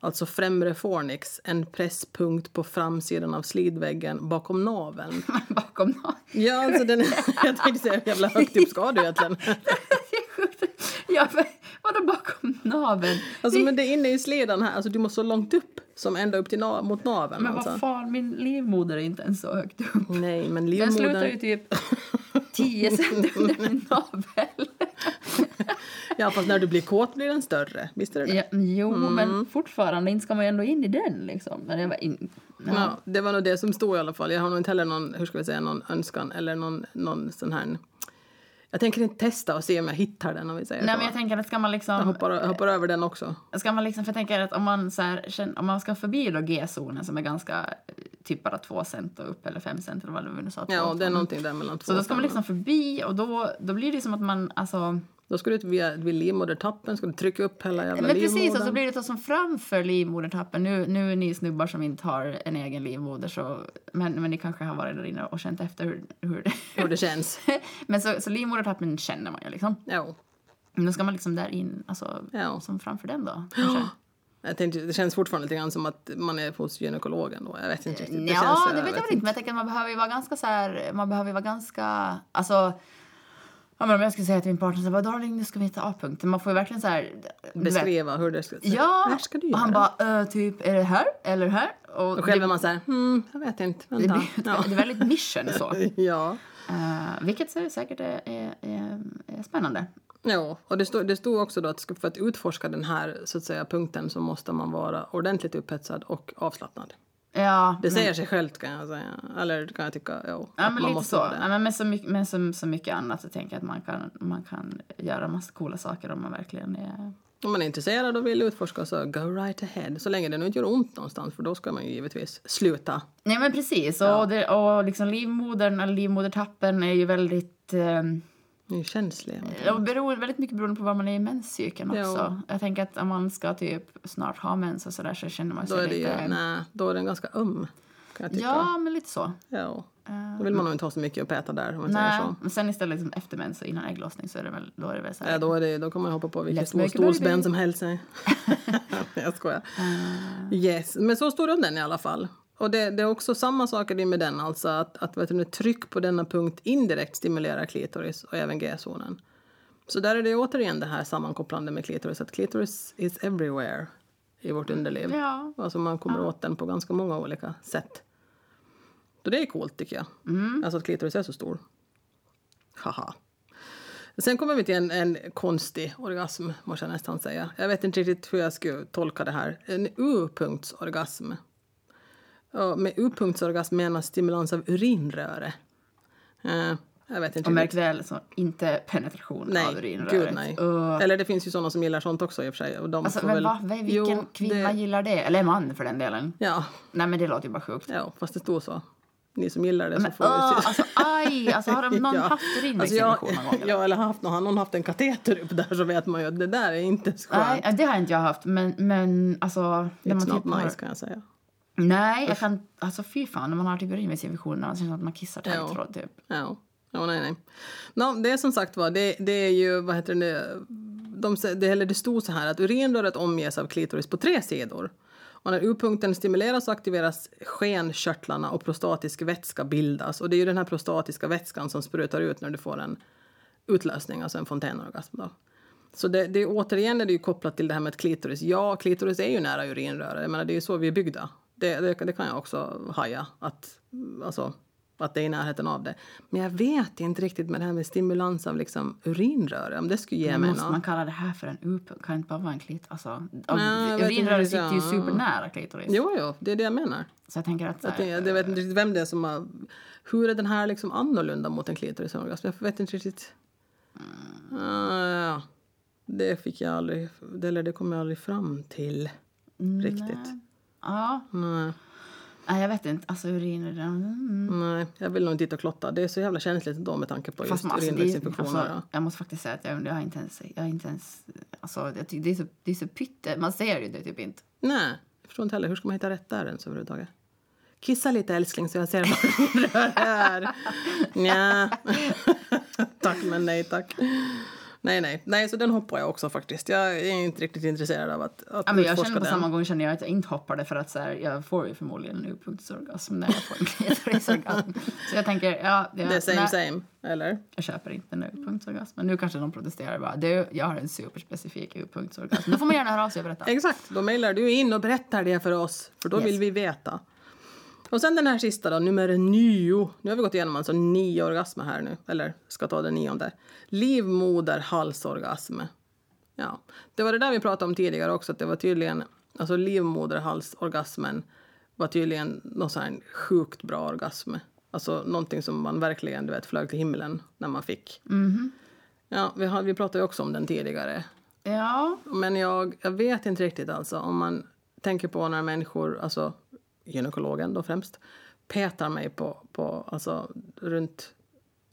[SPEAKER 2] Alltså främre fornix, en presspunkt på framsidan av slidväggen bakom naveln.
[SPEAKER 1] Bakom någon.
[SPEAKER 2] Ja, alltså den, jag tänkte säga hur jävla högt upp ska du egentligen?
[SPEAKER 1] Det är sjukt. Ja, men vadå bakom naveln?
[SPEAKER 2] Alltså, men det är inne i sledan här, alltså du måste så långt upp som ända upp till na- mot naveln.
[SPEAKER 1] Men
[SPEAKER 2] alltså.
[SPEAKER 1] vad fan, min livmoder är inte ens så högt upp.
[SPEAKER 2] Nej, men
[SPEAKER 1] Den slutar ju
[SPEAKER 2] livmodern...
[SPEAKER 1] typ 10 centimeter under min navel.
[SPEAKER 2] Ja, fast när du blir kåt blir den större. Visst är det det?
[SPEAKER 1] Ja, jo, men fortfarande inte ska man ju ändå in i den liksom. Men jag var in...
[SPEAKER 2] Ja. det var nog det som stod i alla fall. Jag har nog inte heller någon, hur ska vi säga, någon önskan eller någon, någon sån här... Jag tänker inte testa och se om jag hittar den om vi säger
[SPEAKER 1] Nej,
[SPEAKER 2] så.
[SPEAKER 1] men jag tänker att ska man
[SPEAKER 2] Jag
[SPEAKER 1] liksom...
[SPEAKER 2] hoppar, jag hoppar över den också.
[SPEAKER 1] Ska man liksom för jag tänker att om man, så här, känner- om man ska förbi då G-zonen som är ganska eh, typ bara 2 cent och upp eller 5 cent eller vad det var vi nu sa. två,
[SPEAKER 2] Ja, och
[SPEAKER 1] två.
[SPEAKER 2] det är någonting där mellan två
[SPEAKER 1] så då ska man
[SPEAKER 2] och fem.
[SPEAKER 1] liksom förbi och då, då blir det som att man alltså...
[SPEAKER 2] Då ska du ut via, vid livmodertappen, ska du trycka upp hela jävla
[SPEAKER 1] Men precis,
[SPEAKER 2] livmodern.
[SPEAKER 1] och så blir det så som framför livmodertappen. Nu, nu är ni snubbar som inte har en egen livmoder, så, men, men ni kanske har varit där inne och känt efter hur, hur det
[SPEAKER 2] Hur det känns.
[SPEAKER 1] Men så, så livmodertappen känner man ju liksom.
[SPEAKER 2] Ja.
[SPEAKER 1] Men då ska man liksom där in, alltså
[SPEAKER 2] Ja.
[SPEAKER 1] som framför den då. kanske.
[SPEAKER 2] Jag tänkte, det känns fortfarande lite grann som att man är hos gynekologen då. Jag vet inte riktigt.
[SPEAKER 1] ja,
[SPEAKER 2] känns, eh,
[SPEAKER 1] det vet jag väl inte, men jag tänker att man behöver ju vara ganska så här, man behöver ju vara ganska, alltså Ja, men om jag skulle säga till min partner så bara darling nu ska vi hitta A-punkten. Man får ju verkligen så här... du vet.
[SPEAKER 2] Beskriva hur det ska...
[SPEAKER 1] Ja!
[SPEAKER 2] Här ska du
[SPEAKER 1] och
[SPEAKER 2] göra.
[SPEAKER 1] han bara "Ö, typ är det här eller här? Och,
[SPEAKER 2] och själv är man så här, hmm, jag vet inte,
[SPEAKER 1] Det
[SPEAKER 2] vänta.
[SPEAKER 1] blir ja. ett väldigt mission så.
[SPEAKER 2] Ja.
[SPEAKER 1] Eh, vilket så säkert är, är, är, är spännande.
[SPEAKER 2] Ja, och det stod, det stod också då att ska- för att utforska den här så att säga, punkten så måste man vara ordentligt upphetsad och avslappnad.
[SPEAKER 1] Ja,
[SPEAKER 2] Det säger sig självt kan jag säga. Eller kan jag tycka, jo.
[SPEAKER 1] Mm. ja
[SPEAKER 2] att
[SPEAKER 1] men
[SPEAKER 2] man
[SPEAKER 1] lite
[SPEAKER 2] måste
[SPEAKER 1] så.
[SPEAKER 2] vara det.
[SPEAKER 1] Ja, men med så mycket, med så, så mycket annat så tänker jag att man kan, man kan göra massa coola saker om man verkligen är...
[SPEAKER 2] Om man är intresserad och vill utforska så go right ahead. Så länge det nu inte gör ont någonstans för då ska man ju givetvis sluta.
[SPEAKER 1] Nej men precis, och, det, och liksom livmodern eller livmodertappen är ju väldigt... Eh,
[SPEAKER 2] Ni är känsliga.
[SPEAKER 1] och beror, väldigt mycket beroende på var man är i menscykeln
[SPEAKER 2] Ja.
[SPEAKER 1] också. Jag tänker att om man ska typ snart ha mens och sådär så känner man
[SPEAKER 2] Då
[SPEAKER 1] sig
[SPEAKER 2] är, det
[SPEAKER 1] lite...
[SPEAKER 2] ju, nej, då är den ganska öm, kan jag tycka.
[SPEAKER 1] ja, men lite så.
[SPEAKER 2] Ja. Då vill man nog inte ha så mycket att peta där. Om man säger
[SPEAKER 1] Nej,
[SPEAKER 2] så.
[SPEAKER 1] men sen istället liksom efter mens och innan ägglossning så är det väl, då är det väl så här.
[SPEAKER 2] Ja, då, är det, då kan man hoppa på vilket
[SPEAKER 1] Let's
[SPEAKER 2] stor,
[SPEAKER 1] make a
[SPEAKER 2] stor
[SPEAKER 1] baby.
[SPEAKER 2] spänn som helst. nej. jag skojar.
[SPEAKER 1] Ah.
[SPEAKER 2] Yes. Men så står det om den i alla fall. Och det, det är också samma saker det med den, alltså att, att vet du, tryck på denna punkt indirekt stimulerar klitoris och även G-zonen. Så där är det återigen det här sammankopplande med klitoris, att klitoris is everywhere i vårt underliv.
[SPEAKER 1] Ja.
[SPEAKER 2] Alltså man kommer åt den på ganska många olika sätt. Så det är coolt tycker jag.
[SPEAKER 1] Mm.
[SPEAKER 2] Alltså att klitoris är så stor. Haha. Sen kommer vi till en, en konstig orgasm, måste jag nästan säga. Jag vet inte riktigt hur jag skulle tolka det här. En U-punktsorgasm. Ja, med U-punktsorgasm menas stimulans av urinröre. Eh, jag vet inte
[SPEAKER 1] Och märk
[SPEAKER 2] riktigt.
[SPEAKER 1] väl, så inte penetration av
[SPEAKER 2] Nej,
[SPEAKER 1] urinröret.
[SPEAKER 2] gud nej.
[SPEAKER 1] Öh.
[SPEAKER 2] Eller det finns ju såna som gillar sånt också i och för sig. Och de
[SPEAKER 1] Alltså,
[SPEAKER 2] får
[SPEAKER 1] men
[SPEAKER 2] väl...
[SPEAKER 1] va? Vad- Vilken
[SPEAKER 2] Jo,
[SPEAKER 1] kvinna
[SPEAKER 2] det...
[SPEAKER 1] gillar det? Eller man för den delen.
[SPEAKER 2] Ja,
[SPEAKER 1] Nej men det låter ju bara sjukt.
[SPEAKER 2] ja, fast det stod så. Ni som gillar det så får
[SPEAKER 1] Åh,
[SPEAKER 2] ni se.
[SPEAKER 1] alltså aj! Alltså har de någon haft
[SPEAKER 2] Alltså, jag,
[SPEAKER 1] urinvägsinfektion någon gång? eller?
[SPEAKER 2] ja, eller haft, någon- har någon haft en kateter upp där så vet man ju att det där är inte så skönt.
[SPEAKER 1] Nej, eh, det har inte jag haft. Men, men alltså... När man
[SPEAKER 2] It's
[SPEAKER 1] typ
[SPEAKER 2] not
[SPEAKER 1] har,
[SPEAKER 2] nice kan jag säga.
[SPEAKER 1] nej, jag kan... Alltså fy fan, när man har typ urinvägsinfektion när man känner att man kissar
[SPEAKER 2] Ja.
[SPEAKER 1] taggtråd typ.
[SPEAKER 2] Ja. ja, nej, nej. No, det är som sagt var, det, det är ju, vad heter det, de, sä- det, eller det stod så här att urinröret omges av klitoris på tre sidor. Och när U-punkten stimuleras och aktiveras skenkörtlarna och prostatisk vätska bildas. Och det är ju den här prostatiska vätskan som sprutar ut när du får en utlösning, alltså en fontänorgasm då. Så det, det är återigen är det ju kopplat till det här med att klitoris, ja klitoris är ju nära urinröret, jag menar det är ju så vi är byggda. Det, det, det kan jag också haja, att, alltså, att det är i närheten av det. Men jag vet inte riktigt med det här med stimulans av liksom urinröret, om det skulle ge mig
[SPEAKER 1] Måste
[SPEAKER 2] något.
[SPEAKER 1] man kalla det här för en upp? Kan det inte bara vara en klit? Alltså, av-
[SPEAKER 2] Nej, jag vet inte
[SPEAKER 1] urinröret
[SPEAKER 2] riktigt,
[SPEAKER 1] sitter ju
[SPEAKER 2] ja.
[SPEAKER 1] supernära klitoris.
[SPEAKER 2] Jo, jo, det är det jag menar.
[SPEAKER 1] Så jag tänker att... Så
[SPEAKER 2] Att det,
[SPEAKER 1] här,
[SPEAKER 2] jag vet inte riktigt vem det är som har... Hur är den här liksom annorlunda mot en klitorisorgasm? Jag vet inte riktigt. Ah, det fick jag aldrig... Det, eller det kom jag aldrig fram till riktigt.
[SPEAKER 1] ja,
[SPEAKER 2] Nej.
[SPEAKER 1] nej, jag vet inte. Alltså urinröret... Mm.
[SPEAKER 2] Nej, jag vill nog inte dit och klotta. Det är så jävla känsligt ändå med tanke på
[SPEAKER 1] Fast
[SPEAKER 2] just
[SPEAKER 1] man, alltså, det är,
[SPEAKER 2] urinvägsinfektioner.
[SPEAKER 1] alltså, jag måste faktiskt säga att jag, jag har inte ens... Jag har inte ens alltså, jag tycker, det, är så, det är så pytte... Man ser ju det typ inte.
[SPEAKER 2] Nej, jag förstår inte heller. Hur ska man hitta rätt där ens överhuvudtaget? Kissa lite älskling så jag ser vad du rör här. Nja. tack men nej tack. Nej, nej, nej, så den hoppar jag också faktiskt. Jag är inte riktigt intresserad av att, att
[SPEAKER 1] Ja, men jag
[SPEAKER 2] utforska
[SPEAKER 1] känner på
[SPEAKER 2] den.
[SPEAKER 1] samma gång känner jag att jag inte hoppar det för att så här, jag får ju förmodligen en upunktsorgasm när jag får en klitorisorgasm. så jag tänker, ja, jag,
[SPEAKER 2] Det är same
[SPEAKER 1] nej,
[SPEAKER 2] same, eller?
[SPEAKER 1] jag köper inte en upunktsorgasm. Men nu kanske någon protesterar bara, du, jag har en superspecifik upunktsorgasm. Då får man gärna höra av sig och berätta.
[SPEAKER 2] Exakt, då mejlar du in och berättar det för oss, för då
[SPEAKER 1] Yes.
[SPEAKER 2] vill vi veta. Och sen den här sista då, nummer nio. Nu har vi gått igenom alltså nio orgasmer här nu, eller ska ta den nionde. Livmoderhalsorgasm. Ja, det var det där vi pratade om tidigare också, att det var tydligen, alltså livmoderhalsorgasmen var tydligen någon sån här sjukt bra orgasm. Alltså någonting som man verkligen, du vet, flög till himlen när man fick. Ja, vi, har, vi pratade ju också om den tidigare.
[SPEAKER 1] Ja,
[SPEAKER 2] Men jag, jag vet inte riktigt alltså om man tänker på när människor, alltså gynekologen då främst, petar mig på, på alltså runt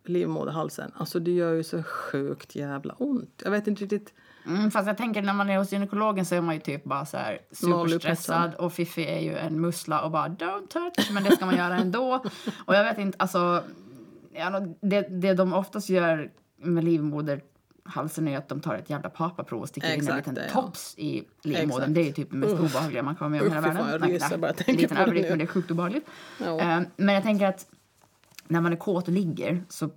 [SPEAKER 2] livmoderhalsen. Alltså det gör ju så sjukt jävla ont. Jag vet inte riktigt.
[SPEAKER 1] mm, fast jag tänker när man är hos gynekologen så är man ju typ bara så här superstressad och Fifi är ju en mussla och bara don't touch, men det ska man göra ändå. Och jag vet inte, alltså, ja, det, det de oftast gör med livmoderhalsen är att de tar ett jävla papaprov och sticker in en
[SPEAKER 2] Exakt,
[SPEAKER 1] liten
[SPEAKER 2] det, ja.
[SPEAKER 1] tops i livmodern.
[SPEAKER 2] Exakt.
[SPEAKER 1] Det är ju typ det mest obehagliga man kan vara med om i hela
[SPEAKER 2] Uff, fy fan,
[SPEAKER 1] världen.
[SPEAKER 2] jag
[SPEAKER 1] Nej,
[SPEAKER 2] ryser
[SPEAKER 1] nej,
[SPEAKER 2] bara jag tänker
[SPEAKER 1] liten
[SPEAKER 2] på det
[SPEAKER 1] överdrift,
[SPEAKER 2] nu.
[SPEAKER 1] men det är sjukt obehagligt.
[SPEAKER 2] Ja.
[SPEAKER 1] Eh, Men jag tänker att när man är kåt och ligger så,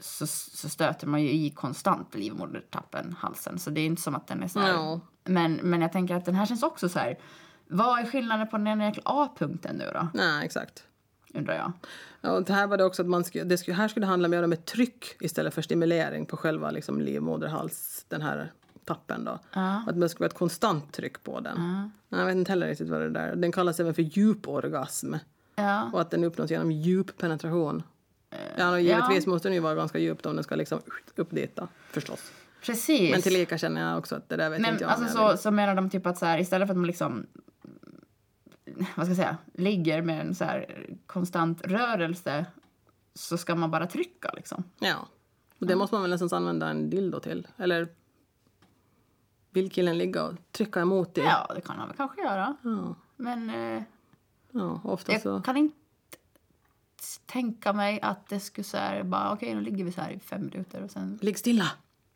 [SPEAKER 1] så, så stöter man ju i konstant livmodertappen, halsen. Så det är inte som att den är så här.
[SPEAKER 2] Ja.
[SPEAKER 1] Men, men jag tänker att den här känns också så här. Vad är skillnaden på den ena jäkla A-punkten nu då?
[SPEAKER 2] Nej, exakt.
[SPEAKER 1] Undrar jag.
[SPEAKER 2] Ja, Och det här var det också att man skulle, det skulle, här skulle det handla mer om ett tryck istället för stimulering på själva liksom livmoderhals, den här tappen då. Att man skulle ha ett konstant tryck på den. Nej, Jag vet inte heller riktigt vad det där Den kallas även för djuporgasm.
[SPEAKER 1] Ja.
[SPEAKER 2] Och att den uppnås genom djup penetration. Ja, och givetvis måste den ju vara ganska djupt om den ska liksom upp dit då, förstås.
[SPEAKER 1] Precis.
[SPEAKER 2] Men tillika känner jag också att det där vet
[SPEAKER 1] Men
[SPEAKER 2] inte jag om
[SPEAKER 1] alltså
[SPEAKER 2] jag vill.
[SPEAKER 1] så, så menar de typ att så här, istället för att man liksom vad ska jag säga, ligger med en så här konstant rörelse så ska man bara trycka liksom.
[SPEAKER 2] Ja. Och det måste man väl nästan använda en dildo till. Eller vill killen ligga och trycka emot det?
[SPEAKER 1] Ja, det kan man väl kanske göra.
[SPEAKER 2] Ja.
[SPEAKER 1] Men eh,
[SPEAKER 2] Ja, ofta
[SPEAKER 1] jag
[SPEAKER 2] så.
[SPEAKER 1] kan inte tänka mig att det skulle så här bara okej, nu ligger vi så här i fem minuter och sen
[SPEAKER 2] Ligg stilla!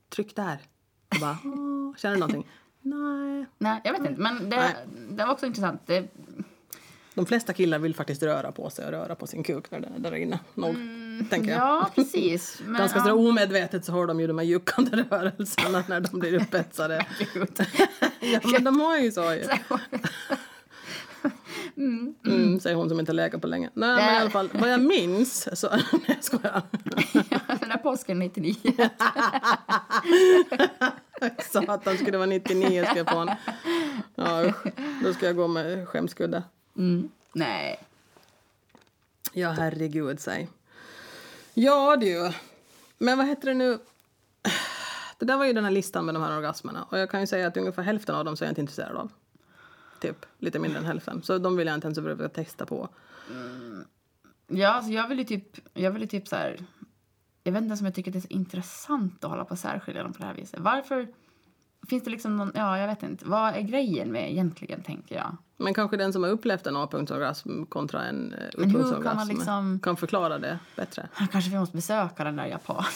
[SPEAKER 2] Tryck där. Och bara, "Åh, känner du någonting? Nej.
[SPEAKER 1] nej, jag vet
[SPEAKER 2] Mm.
[SPEAKER 1] inte, men det, det var också intressant. Det,
[SPEAKER 2] De flesta killar vill faktiskt röra på sig och röra på sin kuk när den är där inne. Nog.
[SPEAKER 1] Mm.
[SPEAKER 2] tänker jag.
[SPEAKER 1] Ja, precis. Men,
[SPEAKER 2] Ganska
[SPEAKER 1] ja.
[SPEAKER 2] sådär omedvetet så har de ju de här juckande rörelserna när de blir upphetsade.
[SPEAKER 1] Gud.
[SPEAKER 2] ja, men de har ju så ju. Mm, säger hon som inte läkar på länge. Nej, men i alla fall, vad jag minns så... Nej, jag skojar.
[SPEAKER 1] Den här påsken 99.
[SPEAKER 2] Satan, skulle det vara 99 ska jag få en. Ja, usch. Då ska jag gå med skämskudde.
[SPEAKER 1] Mm. Nej.
[SPEAKER 2] Ja, herregud, säg. Ja, du. Men vad heter det nu? Det där var ju den här listan med de här orgasmerna. Och jag kan ju säga att ungefär hälften av dem så är jag inte intresserad av. Typ, lite mindre än hälften. Så de vill jag inte ens behöva testa på.
[SPEAKER 1] Ja, alltså jag vill ju typ, jag vill ju typ så här... Jag vet inte ens om jag tycker att det är så intressant att hålla på och särskilja dem på det här viset. Varför? Finns det liksom någon, ja jag vet inte. Vad är grejen med egentligen tänker jag?
[SPEAKER 2] Men kanske den som har upplevt en A-punktsorgasm kontra en eh,
[SPEAKER 1] hur kan man
[SPEAKER 2] utpunktsorgasm
[SPEAKER 1] liksom-
[SPEAKER 2] kan förklara det bättre.
[SPEAKER 1] Kanske vi måste besöka den där japanen.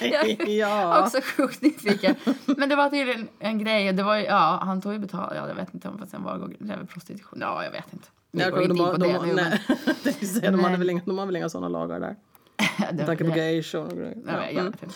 [SPEAKER 2] ja.
[SPEAKER 1] Också sjukt nyfiken. Men det var tydligen en grej. och Det var, ju- ja, han tog ju betalt. Ja, jag vet inte om sen var det var prostitution. Ja, jag vet inte. Vi
[SPEAKER 2] Jag
[SPEAKER 1] går
[SPEAKER 2] kommer-
[SPEAKER 1] inte in på
[SPEAKER 2] de,
[SPEAKER 1] det
[SPEAKER 2] de,
[SPEAKER 1] nu. Men,
[SPEAKER 2] nej, tänkte säga, de, hade
[SPEAKER 1] Nej.
[SPEAKER 2] väl inga, de har väl inga såna lagar där?
[SPEAKER 1] det,
[SPEAKER 2] Med tanke på
[SPEAKER 1] det-
[SPEAKER 2] geishor och grejer.
[SPEAKER 1] ja, jag
[SPEAKER 2] mm.
[SPEAKER 1] vet inte.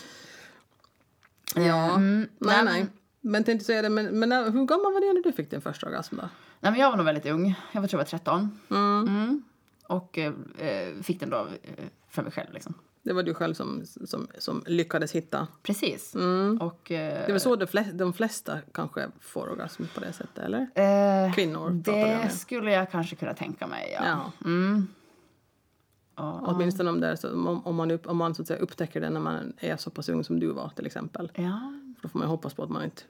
[SPEAKER 2] Ja,
[SPEAKER 1] Mm, nej,
[SPEAKER 2] nej, nej. Men tänkte säga det, men, men när, hur gammal var du när du fick din första orgasm då?
[SPEAKER 1] Nej, men jag var nog väldigt ung. Jag var, tror jag var 13.
[SPEAKER 2] Mm.
[SPEAKER 1] Mm. Och eh, eh, fick den då eh, för mig själv. Liksom.
[SPEAKER 2] Det var du själv som, som, som lyckades hitta. Mm.
[SPEAKER 1] Precis. Och, eh,
[SPEAKER 2] Det är väl så de flesta, de flesta kanske får orgasm på det sättet, eller?
[SPEAKER 1] eh,
[SPEAKER 2] Kvinnor pratar vi om
[SPEAKER 1] det
[SPEAKER 2] nu.
[SPEAKER 1] skulle jag kanske kunna tänka mig. Ja.
[SPEAKER 2] Ja.
[SPEAKER 1] Mm. Ja.
[SPEAKER 2] Åtminstone om, det är så, om, om man, upp, om man så att säga, upptäcker det när man är så pass ung som du var till exempel.
[SPEAKER 1] ja.
[SPEAKER 2] För Då får man ju hoppas på att man inte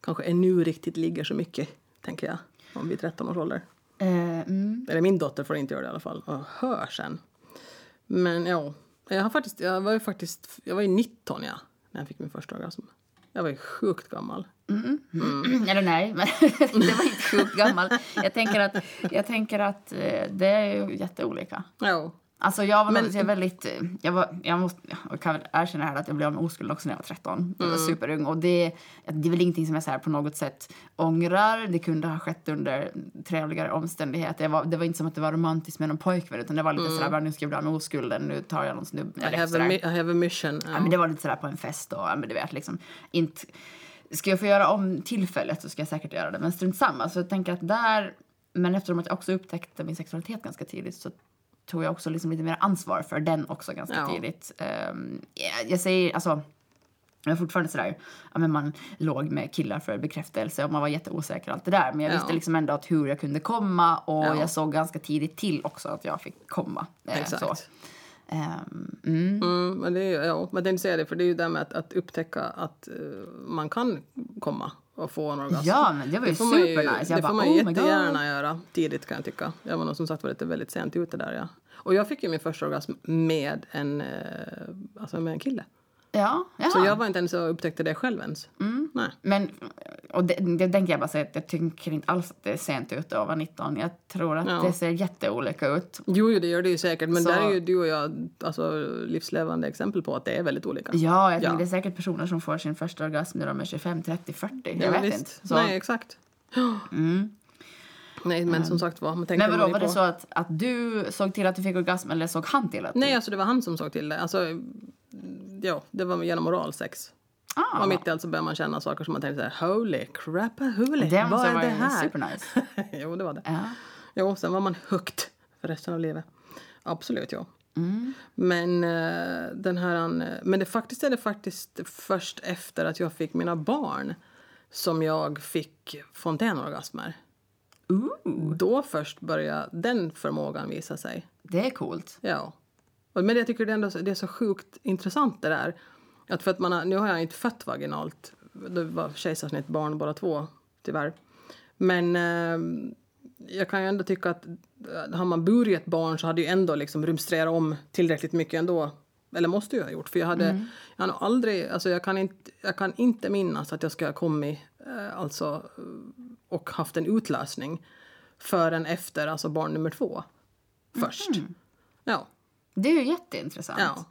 [SPEAKER 2] kanske ännu riktigt ligger så mycket, tänker jag, om vid 13 års ålder.
[SPEAKER 1] Eh, mm.
[SPEAKER 2] Eller min dotter får inte göra det i alla fall. Och hör sen. Men ja, jag, har faktiskt, jag var ju faktiskt jag var ju 19 ja, när jag fick min första orgasm. Jag var ju sjukt gammal.
[SPEAKER 1] Eller nej, men det var inte sjukt gammal. Jag tänker att, jag tänker att eh, det är ju jätteolika.
[SPEAKER 2] Ja.
[SPEAKER 1] Alltså jag var nog- jag är väldigt, eh, jag, var, jag, måste, jag kan väl erkänna här att jag blev av med oskuld också när jag var 13. Jag var superung och det, det är väl ingenting som jag så här på något sätt ångrar. Det kunde ha skett under trevligare omständigheter. Jag var, det var inte som att det var romantiskt med någon pojkvän utan det var lite sådär, bara, nu ska jag bli av med oskulden, nu tar jag någon snubbe.
[SPEAKER 2] I
[SPEAKER 1] eller
[SPEAKER 2] have, a,
[SPEAKER 1] sådär.
[SPEAKER 2] mi- I have a mission. Ja.
[SPEAKER 1] Ja, men det var lite sådär på en fest och ja, men du vet liksom inte... Ska jag få göra om tillfället så ska jag säkert göra det. Men strunt samma. Så jag tänker att där... Men eftersom att jag också upptäckte min sexualitet ganska tidigt så tog jag också liksom lite mer ansvar för den också ganska
[SPEAKER 2] Ja.
[SPEAKER 1] tidigt. Ehm, jag- jag säger alltså... Jag är fortfarande sådär, ja men man låg med killar för bekräftelse och man var jätteosäker och allt det där. Men jag
[SPEAKER 2] Ja.
[SPEAKER 1] visste liksom ändå att hur jag kunde komma och
[SPEAKER 2] Ja.
[SPEAKER 1] jag såg ganska tidigt till också att jag fick komma. Eh,
[SPEAKER 2] Exakt.
[SPEAKER 1] Så. Ehm, mm.
[SPEAKER 2] Mm, men det är, ju- ja, men jag tänkte säga det, för det är ju det här med att, att upptäcka att eh, man kan komma och få en orgasm.
[SPEAKER 1] Ja, men det var ju
[SPEAKER 2] får man
[SPEAKER 1] supernice. Jag
[SPEAKER 2] det
[SPEAKER 1] bara,
[SPEAKER 2] får man
[SPEAKER 1] oh my God.
[SPEAKER 2] jättegärna göra tidigt kan jag tycka. Jag var nog som sagt var lite väldigt sent ute där. Ja. Och jag fick ju min första orgasm med en, eh, alltså med en kille.
[SPEAKER 1] Ja, jaha.
[SPEAKER 2] Så jag var inte ens och upptäckte det själv ens.
[SPEAKER 1] Mm.
[SPEAKER 2] Nej.
[SPEAKER 1] Men, och det, det tänker jag bara säga att jag tycker inte alls att det är sent ute att vara 19. Jag tror att
[SPEAKER 2] Ja.
[SPEAKER 1] det ser jätteolika ut.
[SPEAKER 2] Jo, jo, det gör det ju säkert, men
[SPEAKER 1] Så-
[SPEAKER 2] där är ju du och jag alltså, livslevande exempel på att det är väldigt olika.
[SPEAKER 1] Ja, jag tänker
[SPEAKER 2] Ja.
[SPEAKER 1] det är säkert personer som får sin första orgasm när de är 25, 30, 40. Jag
[SPEAKER 2] Ja,
[SPEAKER 1] vet
[SPEAKER 2] visst.
[SPEAKER 1] inte. Så,
[SPEAKER 2] Nej, exakt. Nej, men som sagt var, man tänker
[SPEAKER 1] men Ehm. vadå,
[SPEAKER 2] man ju
[SPEAKER 1] var det
[SPEAKER 2] på-
[SPEAKER 1] så att, att du såg till att du fick orgasm eller såg han till att
[SPEAKER 2] Nej, alltså det var han som såg till det. Alltså, ja, det var genom oralsex.
[SPEAKER 1] Ah,
[SPEAKER 2] Och mitt i allt så började man känna saker som man tänkte så här, holy crap, holy,
[SPEAKER 1] det
[SPEAKER 2] vad
[SPEAKER 1] måste
[SPEAKER 2] är
[SPEAKER 1] ha
[SPEAKER 2] det
[SPEAKER 1] varit
[SPEAKER 2] här?
[SPEAKER 1] supernice.
[SPEAKER 2] jo, det var det.
[SPEAKER 1] Ja.
[SPEAKER 2] Jo, sen var man högt för resten av livet. Absolut, ja. Men, eh, den här, eh, men det faktiskt är det faktiskt först efter att jag fick mina barn som jag fick fontänorgasmer.
[SPEAKER 1] Ooh,
[SPEAKER 2] Då först började den förmågan visa sig.
[SPEAKER 1] det är coolt.
[SPEAKER 2] Ja. Och- Men jag tycker det är, ändå, så- det är så sjukt intressant det där. Att för att man har, nu har jag inte fött vaginalt. Det var kejsarsnitt barn båda två, tyvärr. Men eh, jag kan ju ändå tycka att eh, har man burit ett barn så hade ju ändå liksom rumstrerat om tillräckligt mycket ändå. Eller måste ju ha gjort, för jag hade, jag har nog aldrig, alltså jag kan inte, jag kan inte minnas att jag ska ha kommit, eh, alltså, eh, och haft en utlösning förrän efter, alltså barn nummer två. Först. Ja.
[SPEAKER 1] Det är ju jätteintressant.
[SPEAKER 2] Ja.